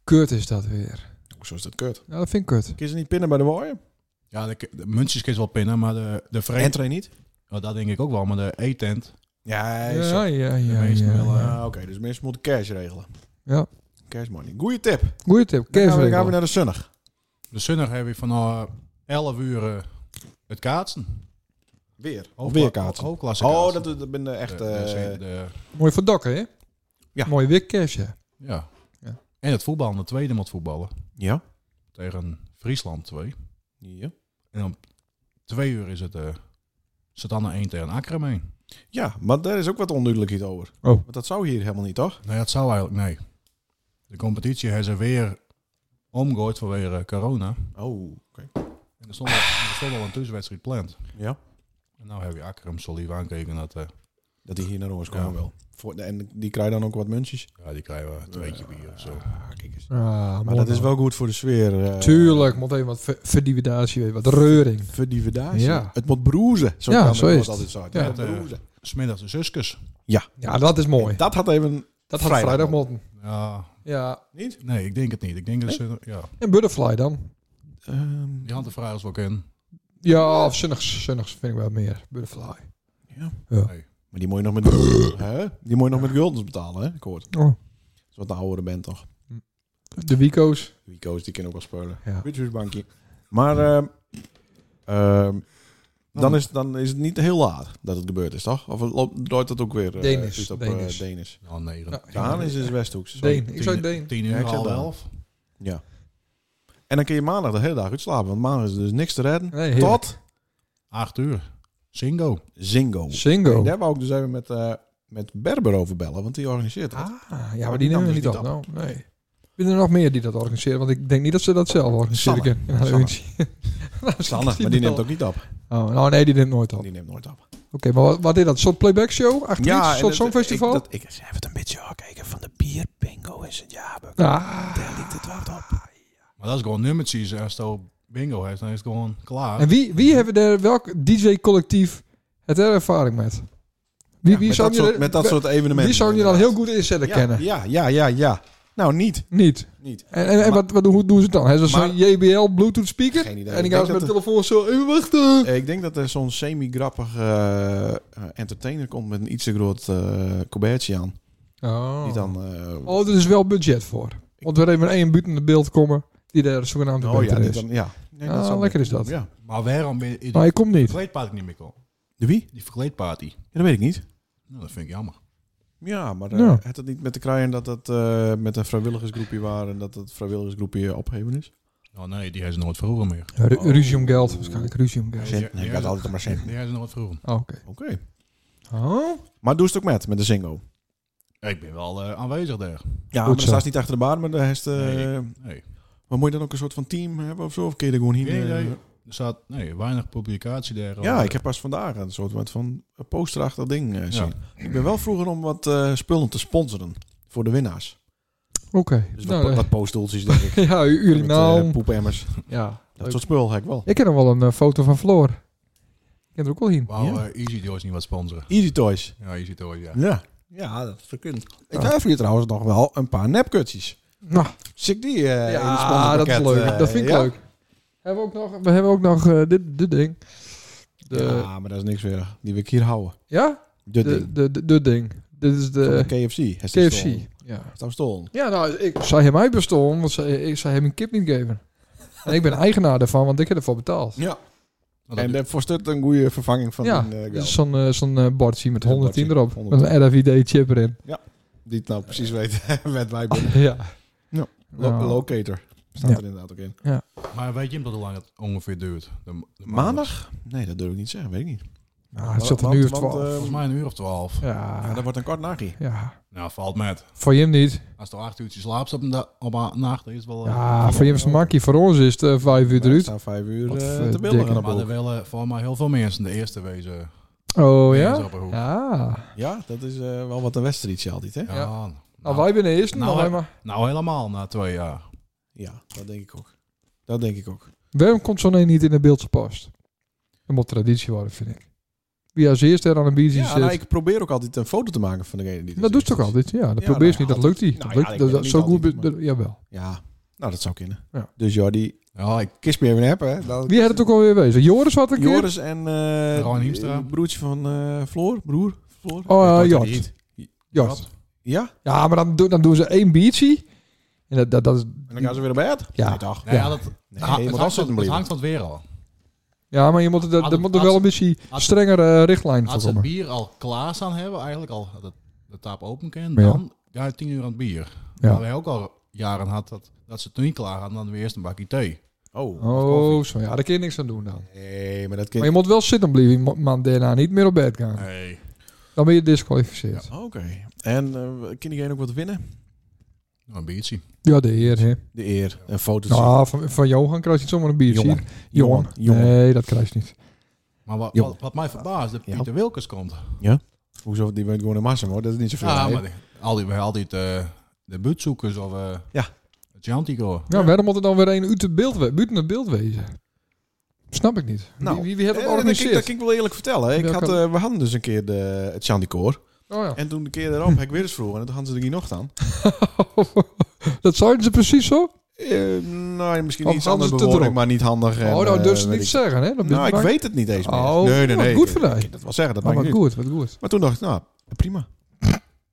S1: Kut is dat weer.
S3: Hoezo is dat kut?
S1: Ja, dat vind ik kut.
S3: Kun je ze niet pinnen bij de waaien?
S2: Ja, de, de muntjes kun je wel pinnen, maar de, de vreemd...
S3: En train niet?
S2: Oh, dat denk ik ook wel, maar de eetent.
S1: Ja,
S3: Ja, is
S1: ja,
S3: zo.
S1: ja.
S2: De
S1: ja,
S2: meesten wel,
S1: ja.
S2: eh.
S3: Ah, Oké, dus mensen moeten cash regelen.
S1: Ja.
S3: Cash money. Goeie tip. Dan
S1: Goeie tip.
S3: gaan we- Dan gaan
S1: Kerstregel.
S3: we naar de zonnig.
S2: De zondag heb je van eh, 11 uur eh, het kaatsen.
S3: Weer. Of
S2: Hoogkla-
S3: weer kaatsen.
S2: Hoogklasse
S3: Oh,
S2: kaatsen.
S3: dat, dat ben de
S2: De- de-
S3: echt...
S2: de-
S3: eh
S2: de-
S1: Mooi voor dokken, hè?
S3: Ja.
S1: Mooi weer cash, hè?
S2: ja.
S1: Ja.
S2: En het voetbal, de tweede moet voetballen.
S3: Ja.
S2: Tegen Friesland 2.
S3: Ja.
S2: En om 2 uur is het eh Satanne 1 tegen Akkermeen.
S3: Ja, maar daar is ook wat onduidelijkheid over.
S1: Oh.
S3: Want dat zou hier helemaal niet, toch?
S2: Nee, dat Nou zou eigenlijk, nee. De competitie heeft ze weer omgooid vanwege eh, corona.
S3: Oh, oké.
S2: En er stond, al, er stond al een tussenwedstrijd gepland.
S3: Ja.
S2: En nou heb je Akkerm solief aankeken dat... eh,
S3: Dat die hier naar ons komen
S2: Ja.
S3: wel. Voor, en die krijgen dan ook wat muntjes.
S2: ja, die krijgen we een tweetje bier of zo.
S3: Ah, kijk eens.
S1: Ah,
S3: Maar
S1: mooi
S3: dat is
S1: man.
S3: wel goed voor de sfeer. eh,
S1: Tuurlijk, moet even wat ver- verdividatie, weer, wat reuring.
S3: Verdievendatie.
S1: Ja.
S3: Het moet broezen. Zo
S1: Ja,
S3: kan
S1: zo
S3: het
S1: is het.
S3: altijd zo. Het
S1: Ja.
S3: moet
S2: Dat, eh,
S3: broezen.
S2: Smiddags de zuskus.
S1: Ja, dat is mooi.
S3: En Dat had even...
S1: Dat had
S3: Vrijdag
S1: vrijdag
S3: moeten.
S1: moeten.
S2: Ja,
S1: Ja.
S3: Niet?
S2: nee, ik denk het niet. Ik denk dat ze... Ja,
S1: En Butterfly dan?
S3: Ehm,
S2: die handen vragen ze wel in.
S1: Ja, of Zinnigs. Zinnigs vind ik wel meer. Butterfly.
S3: maar die moet je nog met... hè? Die moet je nog met guldens betalen, hè? Ik hoor het.
S1: Oh.
S3: Dat is wat de oudere band, toch?
S1: De Wico's.
S3: Wico's, die kennen ook wel spelen.
S1: Ja.
S3: Witchersbankje. Maar... ehm, ehm, dan is, dan is het niet heel laat dat het gebeurd is, toch? Of loopt draait dat ook weer? eh,
S1: Denis,
S3: juist op,
S1: Denis.
S3: eh, Denis.
S2: Ja, nee.
S1: Ja,
S3: Daan is dus Westhoeks. sorry.
S1: Deen. Ik zei Deen.
S2: 10
S3: Ja, ik
S2: uur,
S3: zeg
S2: half
S3: Daan.
S2: elf.
S3: En dan kun je maandag de hele dag uitslapen. Want maandag is er dus niks te redden.
S1: Nee, heerlijk.
S3: Tot
S2: 8 uur. Singo.
S3: Zingo. En
S1: Singo.
S3: daar wou ik dus even met, eh, met Berber over bellen. Want die organiseert het.
S1: Ah, ja, maar die nemen
S3: nam
S1: we
S3: dus
S1: niet
S3: niet
S1: op. Nou, nee. Zijn er nog meer die dat organiseren? Want ik denk niet dat ze dat zelf organiseren.
S3: Sanne.
S1: kunnen. Nou,
S3: Sanne.
S1: misschien- Nou, misschien
S3: Sanne,
S1: is
S3: maar die
S1: wel-
S3: neemt ook niet op.
S1: Oh, nou, nee, die neemt nooit op. Oké,
S3: Die neemt nooit op.
S1: maar wat, wat is dat? Een soort playback show? Achter iets? Een
S3: en
S1: soort
S3: het-
S1: songfestival?
S3: Ik, dat, ik heb het een beetje gekeken van de bier bingo in sint jaarbeuk.
S1: Ah.
S3: Daar ligt het wat op.
S2: Maar dat is gewoon nummertjes. Als het al bingo heeft, dan is het gewoon klaar.
S1: En wie, wie hebben er, welk DJ-collectief het er ervaring met? Wie, wie
S3: met,
S1: zou
S3: dat
S1: je,
S3: soort, met dat soort evenementen.
S1: Wie zou je dan heel goed inzetten
S3: ja,
S1: kennen?
S3: Ja, ja, ja, ja. Nou, niet.
S1: Niet.
S3: Niet.
S1: En, en, en wat, wat, hoe doen ze het dan? Hebben ze zo'n
S3: Maar-
S1: JBL Bluetooth speaker?
S3: Geen idee.
S1: En ik
S3: Ik
S1: ga
S3: denk
S1: ze met de
S3: dat
S1: telefoon zo even wachten.
S3: Eh, Ik denk dat er zo'n semi-grappige eh, eh, entertainer komt met een iets te groot eh colbertje aan.
S1: Oh.
S3: Die dan... eh,
S1: oh, er is wel budget voor. Want we hebben één buiten beeld komen die daar zogenaamd
S3: oh ja,
S1: beter
S3: die
S1: is.
S3: dan, ja. Nee,
S1: Ah,
S3: zou-
S1: lekker is dat.
S3: Ja.
S2: Maar waarom ben je die
S1: Maar hij komt niet.
S2: verkleedparty niet meer komen?
S3: De wie?
S2: Die verkleedparty.
S3: Ja, dat weet ik niet.
S2: Nou, dat vind ik jammer.
S3: Ja, maar eh,
S1: Ja.
S3: had het niet met de kraaien dat het eh, met een vrijwilligersgroepje waren en dat het vrijwilligersgroepje opgeheven is?
S2: Oh nee, die heeft ze nooit vroeger meer.
S1: Ja, ru-
S3: Oh.
S1: Ruzie om geld. Waarschijnlijk ruzie om geld.
S2: Zin. Nee,
S3: Nee,
S2: ja,
S3: dat
S2: ja.
S3: altijd maar zin.
S2: Die heeft ze nooit vroeger.
S1: Oh, oké.
S3: Oké.
S1: Oh?
S3: Maar doe het ook met, met de Zingo.
S2: Ik ben wel eh, aanwezig daar.
S3: Ja,
S1: Goed
S3: maar
S1: zo.
S3: dan staat niet achter de bar, maar daar heeft... eh,
S2: Nee, Nee.
S3: Maar moet je dan ook een soort van team hebben of zo? Of kun je er gewoon hier...
S2: Nee,
S3: eh,
S2: nee. Er staat nee, weinig publicatie daar.
S3: Ja, ik heb pas vandaag een soort van een posterachtig ding eh, zien.
S2: Ja.
S3: Ik ben wel vroeger om wat eh, spullen te sponsoren voor de winnaars.
S1: Oké.
S3: Dus wat,
S1: Nou,
S3: po-
S1: eh,
S3: wat postdoeltjes, denk ik.
S1: ja, u-
S3: Met, eh,
S1: urinaal.
S3: poepemmers.
S1: ja.
S3: Dat soort spul heb ik wel.
S1: Ik ken nog wel een eh, foto van Floor. Ik ken er ook wel heen.
S2: Wauw,
S3: Ja.
S2: eh, Easy Toys niet wat sponsoren.
S3: Easy Toys.
S2: Ja, Easy Toys, ja.
S3: Ja. Ja, dat verkunt. Ik heb hier trouwens nog wel een paar nepkutjes.
S1: Nou,
S3: Zit die eh in het
S1: ja, dat is
S3: sponsorpakket,
S1: leuk.
S3: eh,
S1: dat vind ik
S3: ja?
S1: leuk. Hebben we, ook nog, we hebben ook nog eh, dit, dit ding. De, ja?
S3: Ja, maar dat is niks weer. Die wil ik hier houden. De,
S1: De,
S3: ding.
S1: de, de, de ding. Dit is
S3: Van de
S1: de
S3: KFC. Heeft die
S1: KFC.
S3: stolen.
S1: Ja.
S3: Heeft hem stolen.
S1: Ja, nou, ik, zij hem mij bestolen, want zij, ik, zij hem een kip niet geven. En ik ben eigenaar daarvan, want ik heb ervoor betaald.
S3: Ja.
S2: Nou,
S3: En
S2: dat-
S3: dat voor Sturt een goede vervanging van
S1: ja,
S3: een eh,
S1: dat
S3: Gal.
S1: is zo'n eh, zo'n eh, bordje met
S3: Een
S1: 110
S3: bordje,
S1: erop. Met een RFID-chip erin.
S3: Die het nou precies weet met wij binnen.
S1: Ja.
S3: Ja. Lo-
S1: Nou,
S3: Locator staat
S1: Ja.
S3: er inderdaad ook in.
S2: Maar weet je hem dat hoe lang het ongeveer duurt? De, de
S3: Maandag? Nee, dat durf ik niet zeggen, weet ik niet.
S1: nou, het zit er nu of
S3: Want, want, eh,
S1: 12.
S2: Volgens mij een uur of twaalf.
S3: ja, dat
S1: Ja,
S3: wordt een kort nachtje.
S1: ja.
S2: Nou, valt met.
S1: Voor hem niet.
S2: Als je acht uurtjes slaapt op een, da- op een nacht, is het wel... eh,
S1: Ja, voor hem is het makkie. Voor ons is het eh, vijf uur
S3: We
S1: eruit.
S3: staan vijf uur
S1: Wat
S3: eh, te
S1: verdikke.
S3: billen. aan de
S2: maar er
S3: boel.
S2: willen voor mij heel veel mensen de eerste wezen.
S1: Oh
S2: mensen
S1: ja?
S2: op een hoek.
S1: Ja.
S3: Ja, dat is eh, wel wat een wedstrijdje altijd, hè?
S2: Ja,
S1: Ja.
S2: Nou,
S1: Nou, wij zijn de eerste.
S2: Nou,
S1: Nou,
S2: hè.
S1: maar.
S2: nou, helemaal na twee jaar.
S3: Ja, dat denk ik ook. Dat denk ik ook.
S1: Waarom komt zo'n een niet in de beeldse post? Dat moet traditie worden, vind ik. Wie als eerste er aan een biertje
S3: Ja,
S1: zit.
S3: nou, ik probeer ook altijd een foto te maken van degene die er
S1: eh, dat
S3: zit.
S1: doet ze toch altijd? Ja, dat
S3: Ja,
S1: probeert ze
S3: nou,
S1: niet. Dat lukt
S3: altijd.
S1: niet.
S3: Nou
S1: Dat
S3: ja,
S1: lukt
S3: ik
S1: dat-
S3: ben
S1: dat-
S3: er
S1: Zo
S3: niet
S1: goed...
S3: altijd,
S1: be- dat- Jawel.
S3: Ja, nou dat zou kunnen.
S1: Ja.
S3: Dus Jordi,
S2: Ja, ik,
S3: kist me even hebben, hè? Dan-
S1: Wie had het ook alweer wezen? Joris had een keer?
S3: Joris en eh
S2: Ron Hiemstra.
S3: broertje van eh Floor, broer. Floor.
S1: Oh,
S3: Ik weet
S1: Jort.
S3: het niet.
S1: Jort.
S3: Ja?
S1: Ja, maar dan, doen- dan doen ze één biertje. En dat, dat, dat is...
S3: En dan gaan ze weer naar bed?
S1: Ja.
S3: Nee, toch?
S2: nou ja,
S1: Ja.
S2: dat,
S3: Nee,
S2: ha-
S3: maar
S2: het,
S3: dat
S2: hangt van, het
S3: zit hem blijven.
S2: hangt van het weer al.
S1: Ja, maar je moet er,
S2: Als
S1: dat,
S2: het-
S1: moet er
S2: als
S1: wel een beetje
S2: als-
S1: strengere eh, richtlijn voor
S2: Als ze het
S1: komen.
S2: bier al klaar staan hebben, eigenlijk al dat de tap open kan,
S1: Ja.
S2: dan ja, tien uur aan het bier.
S1: Ja.
S2: Waar wij ook al jaren had dat, dat ze het toen niet klaar hadden, dan weer eerst een bakje thee.
S3: Oh.
S1: Oh, zo. Ja, daar kun je niks aan doen dan.
S3: Nee, maar dat
S1: Maar
S3: kind...
S1: je moet wel zitten blijven. Je moet- maar daarna niet meer op bed gaan.
S2: Nee.
S1: Dan ben je disqualificeerd.
S3: Oké. En eh kan diegene ook wat winnen?
S2: Nou, een biertje.
S1: Ja, de heer, hè.
S3: De eer. Een foto.
S1: Nou, van, van Johan krijg je niet zomaar een biertje.
S3: Jongen.
S1: Johan.
S3: Jongen.
S1: Nee, dat krijg je niet.
S2: Maar wat,
S3: Jongen.
S2: wat, wat mij verbaast, dat
S3: Ja.
S2: Pieter Wilkes komt.
S3: Hoezo? Die woont gewoon in Massum, hoor. Dat is niet zoveel.
S2: Ja,
S3: Nee.
S2: maar die, al die, we hebben altijd eh, de buurtzoekers of eh
S3: Ja.
S2: het Chantico.
S1: Ja, waarom moet er dan weer een uit het beeld, we- buiten het beeld wezen? Snap ik niet.
S3: Nou,
S1: wie, wie, wie heeft dat
S3: Eh, dat kan ik- Dat
S1: georganiseerd?
S3: kan ik wel eerlijk vertellen. Ik
S1: Welke-
S3: had, eh, we hadden dus een keer de, het Chandicoor.
S1: Oh ja.
S3: En toen de keer daarop heb ik weer eens vroeg. En toen hadden ze er hier nog aan.
S1: dat zeiden ze precies zo?
S3: Eh nou, misschien
S1: Of hadden
S3: iets anders
S1: ze het erop?
S3: bewoording, maar niet handig. en,
S1: oh, nou,
S3: eh,
S1: durf ze
S3: weet
S1: niet
S3: ik-
S1: zeggen, hè? Dat
S3: Nou, ik
S1: maakt-
S3: weet het niet eens meer.
S1: Oh,
S3: nee, nee,
S1: wat
S3: nee.
S1: goed
S3: Ik-
S1: voor jou.
S3: ik kan Dat wel zeggen, dat
S1: Oh,
S3: maakt
S1: wat
S3: niet uit.
S1: goed, wat goed.
S3: Maar toen dacht ik, nou, prima.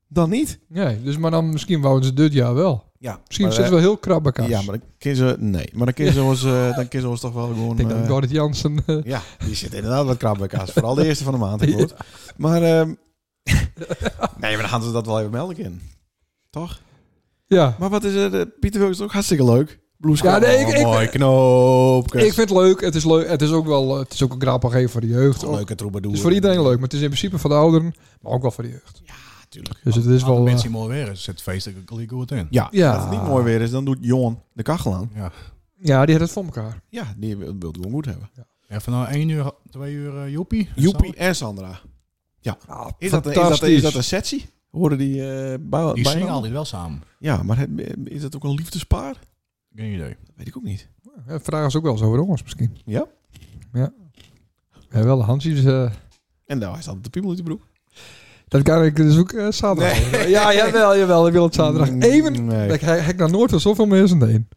S3: Dan niet.
S1: Nee, dus maar dan misschien wouden ze dit jaar wel.
S3: Ja,
S1: Misschien
S3: maar,
S1: zitten
S3: eh,
S1: we heel krap bij elkaar.
S3: Ja, maar dan kiezen ze... Nee, maar dan kiezen ze ons, eh, dan kiezen ze ons toch wel gewoon...
S1: ik denk dat
S3: eh,
S1: Gordit Jansen... eh,
S3: Ja, die zit inderdaad wat krap bij kaas. Vooral de eerste van de maand. ik hoor. Maar, ehm, nee, maar dan gaan ze dat wel even melden in. Toch?
S1: ja,
S3: Maar wat is er? eh, Pieter Wilkes is ook hartstikke leuk. Blues
S1: Ja, nee, ik- ik-
S3: mooi knoopjes.
S1: ik vind het leuk. Het is leuk. Het is ook wel eh, het is ook een grappig even voor de jeugd.
S3: Toch
S1: Ook-
S3: leuke troubadour.
S1: Het is voor iedereen leuk, maar het is in principe voor de ouderen, maar ook wel voor de jeugd.
S3: Natuurlijk.
S1: Dus het is
S2: Als het
S1: wel... eh,
S2: mensen mooi weer is, zit het feest er ook al goed in.
S3: Ja,
S1: Ja.
S3: als het niet mooi weer is, dan doet Jon de kachel aan.
S2: Ja.
S1: ja, die had het voor elkaar.
S3: Ja, die wil wil het gewoon goed hebben.
S2: Even nou één uur, twee uur eh, joepie.
S3: Joepie en Sandra.
S1: Ja,
S3: Ah, Is dat, een- is, dat, is dat een setsie? Hoorden die eh bij,
S2: Die
S3: bij
S2: zingen altijd wel samen.
S3: Ja, maar het- is dat ook een liefdespaar?
S2: Geen idee.
S3: Dat weet ik ook niet.
S1: Ja, vragen ze ook wel eens over ons misschien.
S3: Ja.
S1: Ja. Ja, wel, Hansje is... eh,
S3: En daar is altijd de piemel uit de broek.
S1: dat kan ik dus ook eh, zaterdag. Ja, jawel, jawel. Ik wil het zaterdag even...
S3: Mm, Nee.
S1: Ik heb ik nog nooit wel zoveel mensen heen.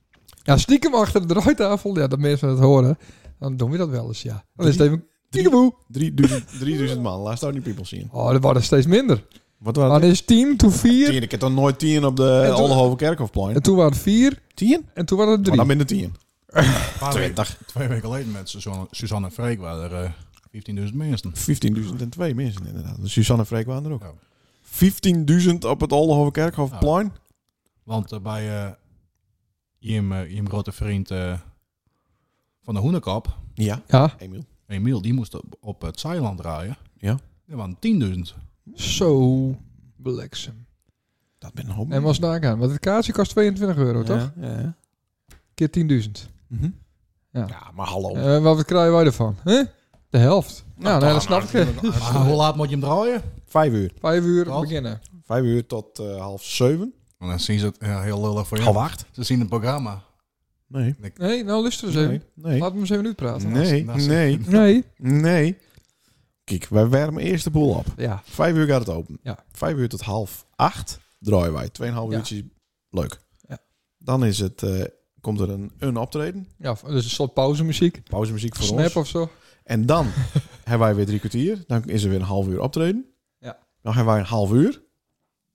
S1: Ja, stiekem achter de draaitafel, ja, dat mensen het horen, dan doen we dat wel eens, ja. Dan is het even... Kiekeboe.
S3: 3000, 3000 man, laat staan die people zien. Ah,
S1: Oh, dat waren steeds minder.
S3: Wat
S1: Maar
S3: waren
S1: dan is 10, toen 4,
S3: Tien, ik heb toch nooit tien op de
S1: toen-
S3: Oldenhoven Kerkhofplein.
S1: en toen waren het 4,
S3: Tien?
S1: en toen waren het
S3: Maar
S1: 3.
S3: Oh, dan minder tien.
S2: Een paar weken-
S3: Twintig.
S2: Twee weken geleden met Suzanne, Suzanne en Freek waren er eh 15.000 mensen.
S3: 15.002 mensen inderdaad. Dus Suzanne en Freek waren er ook.
S2: Ja.
S3: 15.000 op het Oldenhoven Kerkhofplein.
S2: Want eh, bij eh, Jim, eh, Jim grote vriend eh, van de Hoenekap,
S3: Ja,
S1: Ja,
S3: Emiel.
S2: Emiel, die moest op, op het Zeiland draaien.
S3: Ja.
S2: Er waren 10.000.
S1: zo bliksem.
S3: Dat ben een hoop.
S1: En was daar aan, want het kaartje kost 22 euro,
S3: Ja,
S1: toch?
S3: Ja, ja.
S1: Keer 10.000.
S3: Mhm.
S1: Ja.
S3: Ja, maar hallo.
S1: Eh, wat krijgen wij ervan? Hè? De helft. Nou, nee, dat snap ik.
S2: Maar hoe laat moet je hem draaien?
S3: Vijf uur.
S1: Vijf uur
S2: Wat?
S1: beginnen.
S3: Vijf uur tot eh, half zeven.
S2: Want dan zien ze het ja, heel lullig voor
S3: Half
S2: jou.
S3: acht?
S2: Ze zien het programma.
S3: Nee.
S1: Nee, nou luister eens
S3: Nee.
S1: even.
S3: Nee.
S1: Laten we eens even uitpraten.
S3: Nee.
S2: Dat is-
S3: Nee.
S1: Nee.
S3: Nee. Kijk, wij wermen eerst de boel op.
S1: Ja.
S3: Vijf uur gaat het open.
S1: Ja.
S3: Vijf uur tot half acht draaien wij. Tweeënhalf
S1: Ja.
S3: uurtjes leuk.
S1: Ja.
S3: Dan is het, eh, komt er een, een optreden.
S1: ja, dus een soort pauzemuziek.
S3: Pauzemuziek voor
S1: Snap
S3: ons.
S1: of zo.
S3: En dan hebben wij weer drie kwartier. Dan is er weer een half uur optreden.
S1: Ja.
S3: Dan hebben wij een half uur.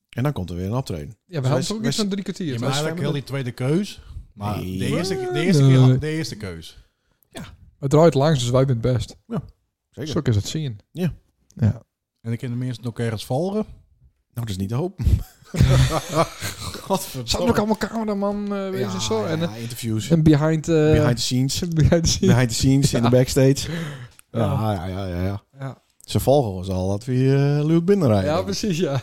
S3: En dan komt er weer een optreden.
S1: Ja, we
S3: Dus
S1: hadden
S3: wij-
S1: toch ook
S3: wij-
S1: iets van drie
S2: Je
S1: kwartier.
S2: hebt
S1: toch?
S2: eigenlijk heel die tweede keus. Maar
S3: Nee.
S2: de, eerste, de, eerste keer,
S1: Nee.
S2: de eerste keus.
S1: Het draait langs, dus wij zijn het best.
S3: Zeker.
S1: Zo is het zien.
S2: En ik ken de mensen nog ergens volgen.
S3: Nou, dat is niet te hoop.
S1: Zat
S2: Godverdomme.
S1: ook allemaal cameraman eh wezen en zo. En,
S3: ja, interviews.
S1: en behind, eh
S3: behind the scenes.
S1: behind the scenes.
S3: Behind the scenes, in de backstage.
S1: Ja.
S3: Ja, ja, ja, ja. ja.
S1: Ja.
S3: Ze volgen ons al dat we hier uh, binnenrijden.
S1: ja, precies, ja.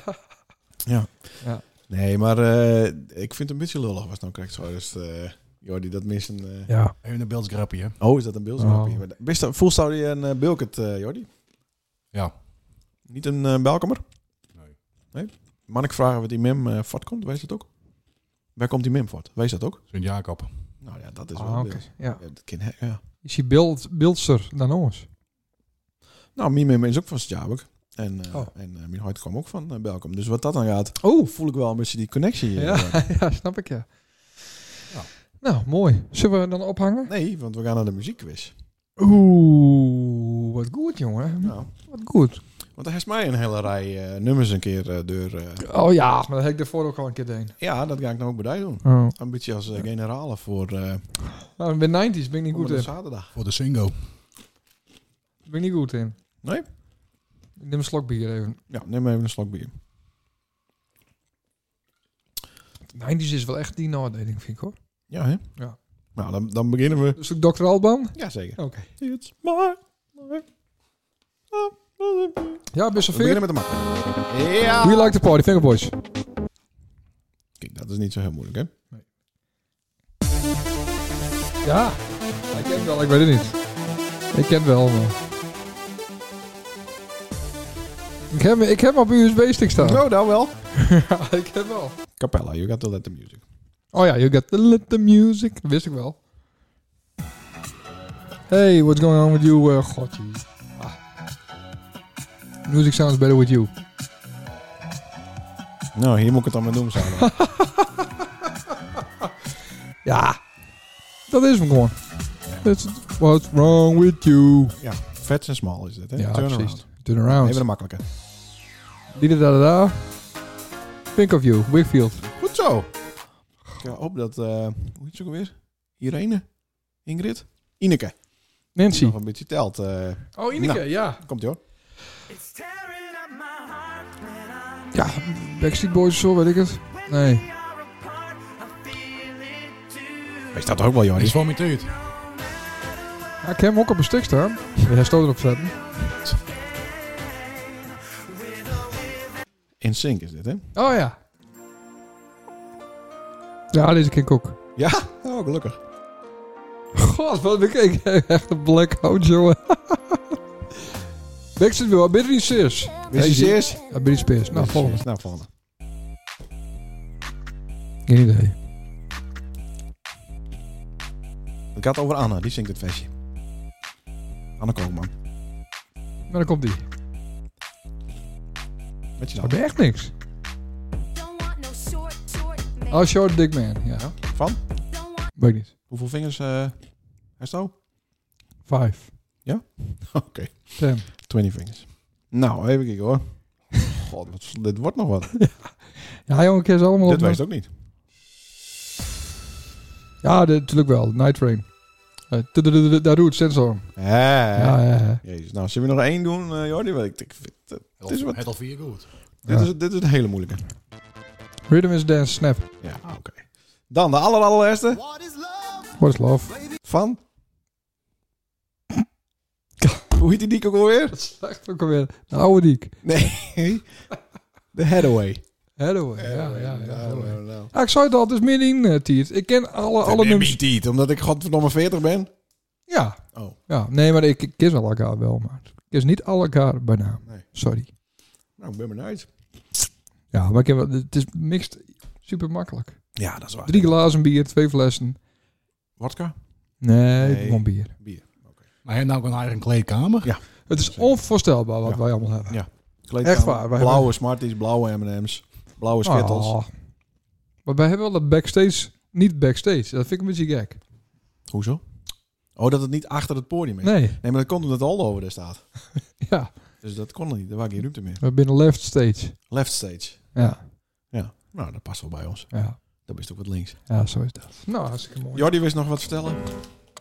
S3: nee, maar eh, ik vind het een beetje lullig was nou krijgt zo. Dus, eh Jordi, dat mis een... eh,
S1: Ja.
S2: Even een beeldsgrapje, hè.
S3: Oh, is dat een
S1: Oh.
S3: beeldsgrapje? Wist je- Voelst zou je een eh, Bilkert, eh, Jordi?
S2: Ja.
S3: Niet een eh Belkamer?
S2: Nee.
S3: Nee? Mag ik vragen waar die mem eh voort komt? Wees dat ook? Waar komt die mem voort? Wees dat ook?
S2: Sint-Jacob.
S3: Nou ja, dat is wel
S1: Ah,
S3: een
S1: oké.
S3: beeld.
S1: Ja.
S3: Ja, dat kind, hè, ja.
S1: Is die beeld, beeldster dan ons?
S3: Nou, mijn mem is ook van Stjabek. En, eh,
S1: Oh.
S3: en eh, mijn hart kwam ook van eh, Belkom. Dus wat dat dan gaat,
S1: Oh,
S3: voel ik wel een beetje die connectie. eh,
S1: ja,
S3: Jordi.
S1: ja, snap ik, ja.
S2: Ja.
S1: Nou, mooi. Zullen we dan ophangen?
S3: Nee, want we gaan naar de muziekquiz.
S1: Oeh, wat goed, jongen.
S3: Nou,
S1: Wat goed.
S3: want er is mij een hele rij eh, nummers een keer eh, door. eh,
S1: Oh ja, maar dat heb ik daarvoor ook al een keer deed.
S3: ja, dat ga ik nou ook bij jou doen.
S1: Oh.
S3: Een beetje als eh, generale voor, eh
S1: Nou, bij 90s ben ik niet
S3: voor
S1: goed
S3: de
S1: in.
S3: zaterdag.
S2: Voor de singo.
S1: Ben ik niet goed in.
S3: Nee?
S1: Ik neem een slok bier even.
S3: Ja, neem even een slok bier.
S1: 90s is wel echt die nadeling, vind ik hoor.
S3: Ja, hè?
S1: Ja.
S3: Nou, dan, dan beginnen we.
S1: Dus ook Dr. Alban?
S3: Jazeker.
S1: Oké.
S3: It's my life.
S1: Ja, best
S3: We
S1: wel veel.
S3: beginnen met de makkelijke. Ja!
S1: We like the party, Fingerboys.
S3: Kijk, dat is niet zo heel moeilijk, hè?
S1: Ja. Ik ken het wel, ik weet het niet. Ik ken het wel, maar... Ik heb, ik heb hem op USB-stick staan.
S3: Nou, nou wel.
S1: Ja, ik heb wel.
S3: Capella, you got to let the music.
S1: Oh ja, you got to let the music. Dat wist ik wel. Hey, what's going on with you? eh, God, jee. Ah. Music sounds better with you.
S3: Nou, hier moet ik het dan maar doen, samen.
S1: Ja. Dat is hem gewoon. That's what's wrong with you.
S3: ja, vet en smal is dit, hè?
S1: Ja,
S3: Turn around.
S1: precies. Turn around.
S3: Even de makkelijke.
S1: da da da. Think of you, Wickfield.
S3: Goed zo. Ik eh, hoop dat, eh, hoe heet ze ook alweer? Irene? Ingrid? Ineke. Die
S1: Nancy.
S3: nog een beetje telt. eh,
S1: Oh,
S3: Ineke, Nou.
S1: ja.
S3: komt ie hoor.
S1: Ja, Backstreet Boys of zo, weet ik het. Nee.
S3: Wees dat ook wel,
S2: Hij is
S3: Joris.
S2: van mijn tuut.
S1: Ja, ik heb hem ook op een stuk staan. Wil jij stoot erop zetten?
S3: In sync is dit, hè?
S1: Oh ja. Ja, deze ken ik ook.
S3: Ja, oh, gelukkig.
S1: God, wat ben ik echt een blackout, jongen. Backstreet Boys, Britney Spears.
S3: Wist je
S1: Spears?
S3: Zeers?
S1: Ja, Britney Spears. Nou, volgende.
S3: Nou, volgende.
S1: Geen idee.
S3: Het gaat over Anna, die zingt het versje. Anna Koopman.
S1: Maar dan komt die.
S3: Weet je
S1: Dat
S3: nou?
S1: ben echt niks. Oh,
S8: Als je...
S1: Short Dick Man. Ja,
S3: Van?
S1: weet ik niet.
S3: Hoeveel vingers eh is het al?
S1: Vijf.
S3: Oké.
S1: Ten.
S3: 20 vingers. Nou, even kijken hoor. God, wat- dit wordt nog wat.
S1: Ja, jongen, ik ken ze allemaal
S3: dit
S1: op.
S3: wijst ook niet.
S1: Ja, dit- natuurlijk wel. Night Train. Eh, tudududu, Daar doet het sensor.
S3: Eh.
S1: Ja, ja, ja.
S3: Jezus, nou, zullen we nog één doen, eh, Jordi? Want Ik, ik vind, eh,
S2: Het
S3: is
S2: is
S3: wat-
S2: wat. Het al vier goed.
S1: Ja.
S3: dit, is, dit is een hele moeilijke.
S1: Rhythm is Dance Snap.
S3: Ja,
S1: Oh.
S3: oké. Dan de aller, allerlaatste
S1: What is love?
S3: van... Hoe heet die diek ook alweer?
S1: Dat slecht ook alweer. De oude diek.
S3: Nee. De Hathaway.
S1: Hathaway. Ja, ja, ja. Hathaway.
S3: Nou, nou.
S1: Ja, ik zei het al, het is meer in, eh, Tiet. Ik ken alle, alle
S3: Nee,
S1: nummers.
S3: niet niet, omdat ik godverdomme 40 ben.
S1: Ja.
S3: Oh.
S1: ja. Nee, maar ik, ik kies wel elkaar wel, maar ik kies niet alle elkaar bij naam.
S3: Nee.
S1: Sorry.
S3: Nou, ik ben benieuwd.
S1: Ja, maar ik heb, wel- het is mixed super makkelijk.
S3: Ja, dat is waar.
S1: Drie glazen bier, twee flessen.
S3: Wodka?
S1: Nee,
S3: Nee.
S1: gewoon bier.
S3: Bier.
S2: Maar hij heeft nou ook een eigen kleedkamer.
S1: Het is onvoorstelbaar wat
S3: Ja.
S1: wij allemaal hebben.
S3: Ja. Kleedkamer,
S1: waar, wij
S3: Blauwe Smarties, blauwe M&M's, blauwe Skittles.
S1: Oh. Maar wij hebben wel dat backstage, niet backstage. Dat vind ik een beetje gek.
S3: Hoezo? Oh, dat het niet achter het podium is. Nee,
S1: Nee,
S3: maar dat komt omdat Aldo over daar staat.
S1: ja.
S3: Dus dat kon niet. Daar was geen ruimte meer.
S1: We binnen left stage.
S3: Left stage.
S1: Ja,
S3: Ja. Nou, dat past wel bij ons.
S1: ja.
S3: Dat is ook wat links.
S1: Ja, zo is dat. Nou, hartstikke mooi.
S3: Jordi wist nog wat vertellen.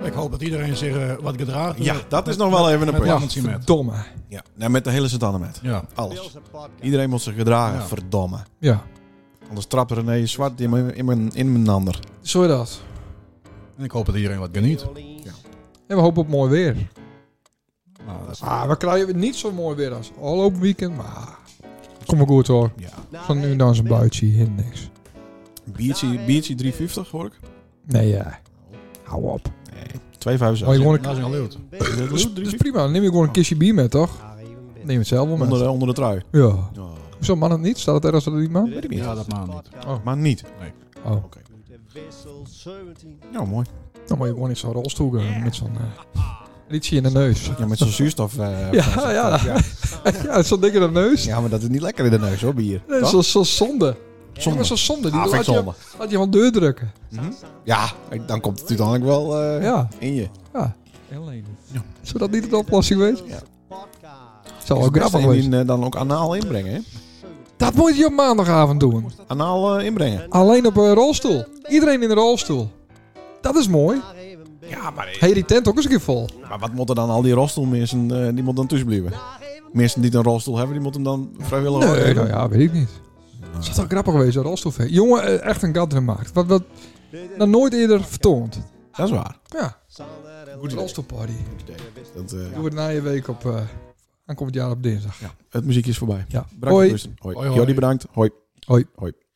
S2: Ik hoop dat iedereen zich eh, wat gedraagt. eh,
S3: Ja, dat is nog wel even
S2: met-
S3: een punt.
S1: ja,
S2: want je met.
S1: verdomme.
S3: Ja, nou, met de hele sint met.
S2: Ja.
S3: Alles. Iedereen moet zich gedragen,
S2: Ja.
S3: verdomme.
S1: Ja,
S3: Anders trapt René zwart in mijn, in mijn, in mijn ander.
S1: zo is dat.
S2: En ik hoop dat iedereen wat geniet.
S1: En we hopen op mooi weer.
S2: Nou, dat is-
S1: Ah, we krijgen niet zo mooi weer als afgelopen weekend, maar... Kom maar goed hoor.
S2: ja.
S1: Van nu dan zo'n buitje hier niks.
S3: Biertje, biertje 3,50 hoor ik.
S1: Nee, ja. Hou op.
S3: Nee, 2,75.
S1: Maar je gewoon
S2: Dat is een leeuwt.
S1: Dus, dus prima, dan neem je gewoon een kistje bier mee, toch? Neem het zelf wel
S3: onder,
S1: mee.
S3: de- onder de trui.
S1: Ja.
S3: Oh,
S1: Zo man het niet? Staat het ergens dat het niet man?
S3: weet ik niet.
S2: Ja, dat maakt niet.
S1: Oh.
S3: Maar niet.
S1: Oh,
S4: Wissel 17.
S3: Ja, mooi.
S1: dan moet je gewoon in zo'n rolstoel gaan met zo'n eh, liedje in de neus.
S3: Ja, met zo'n zuurstof. eh,
S1: Ja, ja. Ja, zo'n dikke in de neus.
S3: Ja, maar dat is niet lekker in de neus hoor, bier.
S1: Dat is
S3: Toch?
S1: zo, zo zonde.
S3: Zonde.
S1: Ja, zo'n zonde. Die
S3: Ah, vind
S1: had,
S3: ik zonde.
S1: Je, had je van deur drukken.
S3: Ja, ik- dan komt het uiteindelijk wel eh,
S1: Ja.
S3: in je.
S1: Zou dat niet de oplossing wezen?
S3: Ja.
S1: Zou
S3: Is
S1: wel
S3: het beste
S1: grappig
S3: indien,
S1: wezen.
S3: eh, dan ook anaal inbrengen, hè?
S1: Dat moet je op maandagavond doen.
S3: Anaal eh, inbrengen.
S1: Alleen op een rolstoel. Iedereen in een rolstoel. Dat is mooi.
S3: Ja, maar,
S1: Hey, die tent ook eens een keer vol.
S3: maar wat moeten dan al die rolstoelmensen, eh, die moeten dan tussen blijven? Mensen die een rolstoel hebben, die moeten dan vrijwillig
S1: Nee,
S3: worden.
S1: nou ja, weet ik niet. Zou toch grappig wezen, een rolstoelfeest. Jongen, eh, echt een gat gemaakt. Wat, wat nog nooit eerder vertoond.
S3: Dat is waar.
S1: Ja,
S4: er
S1: een rolstoelparty.
S3: Dat, eh,
S1: Doe het na je week op... eh aankomend jaar op dinsdag.
S3: Het muziekje is voorbij.
S1: Ja.
S3: Bedankt
S1: Hoi.
S3: voor het luisteren. Hoi.
S2: Hoi, hoi.
S3: Jordi, bedankt. Hoi.
S1: Hoi.
S3: Hoi.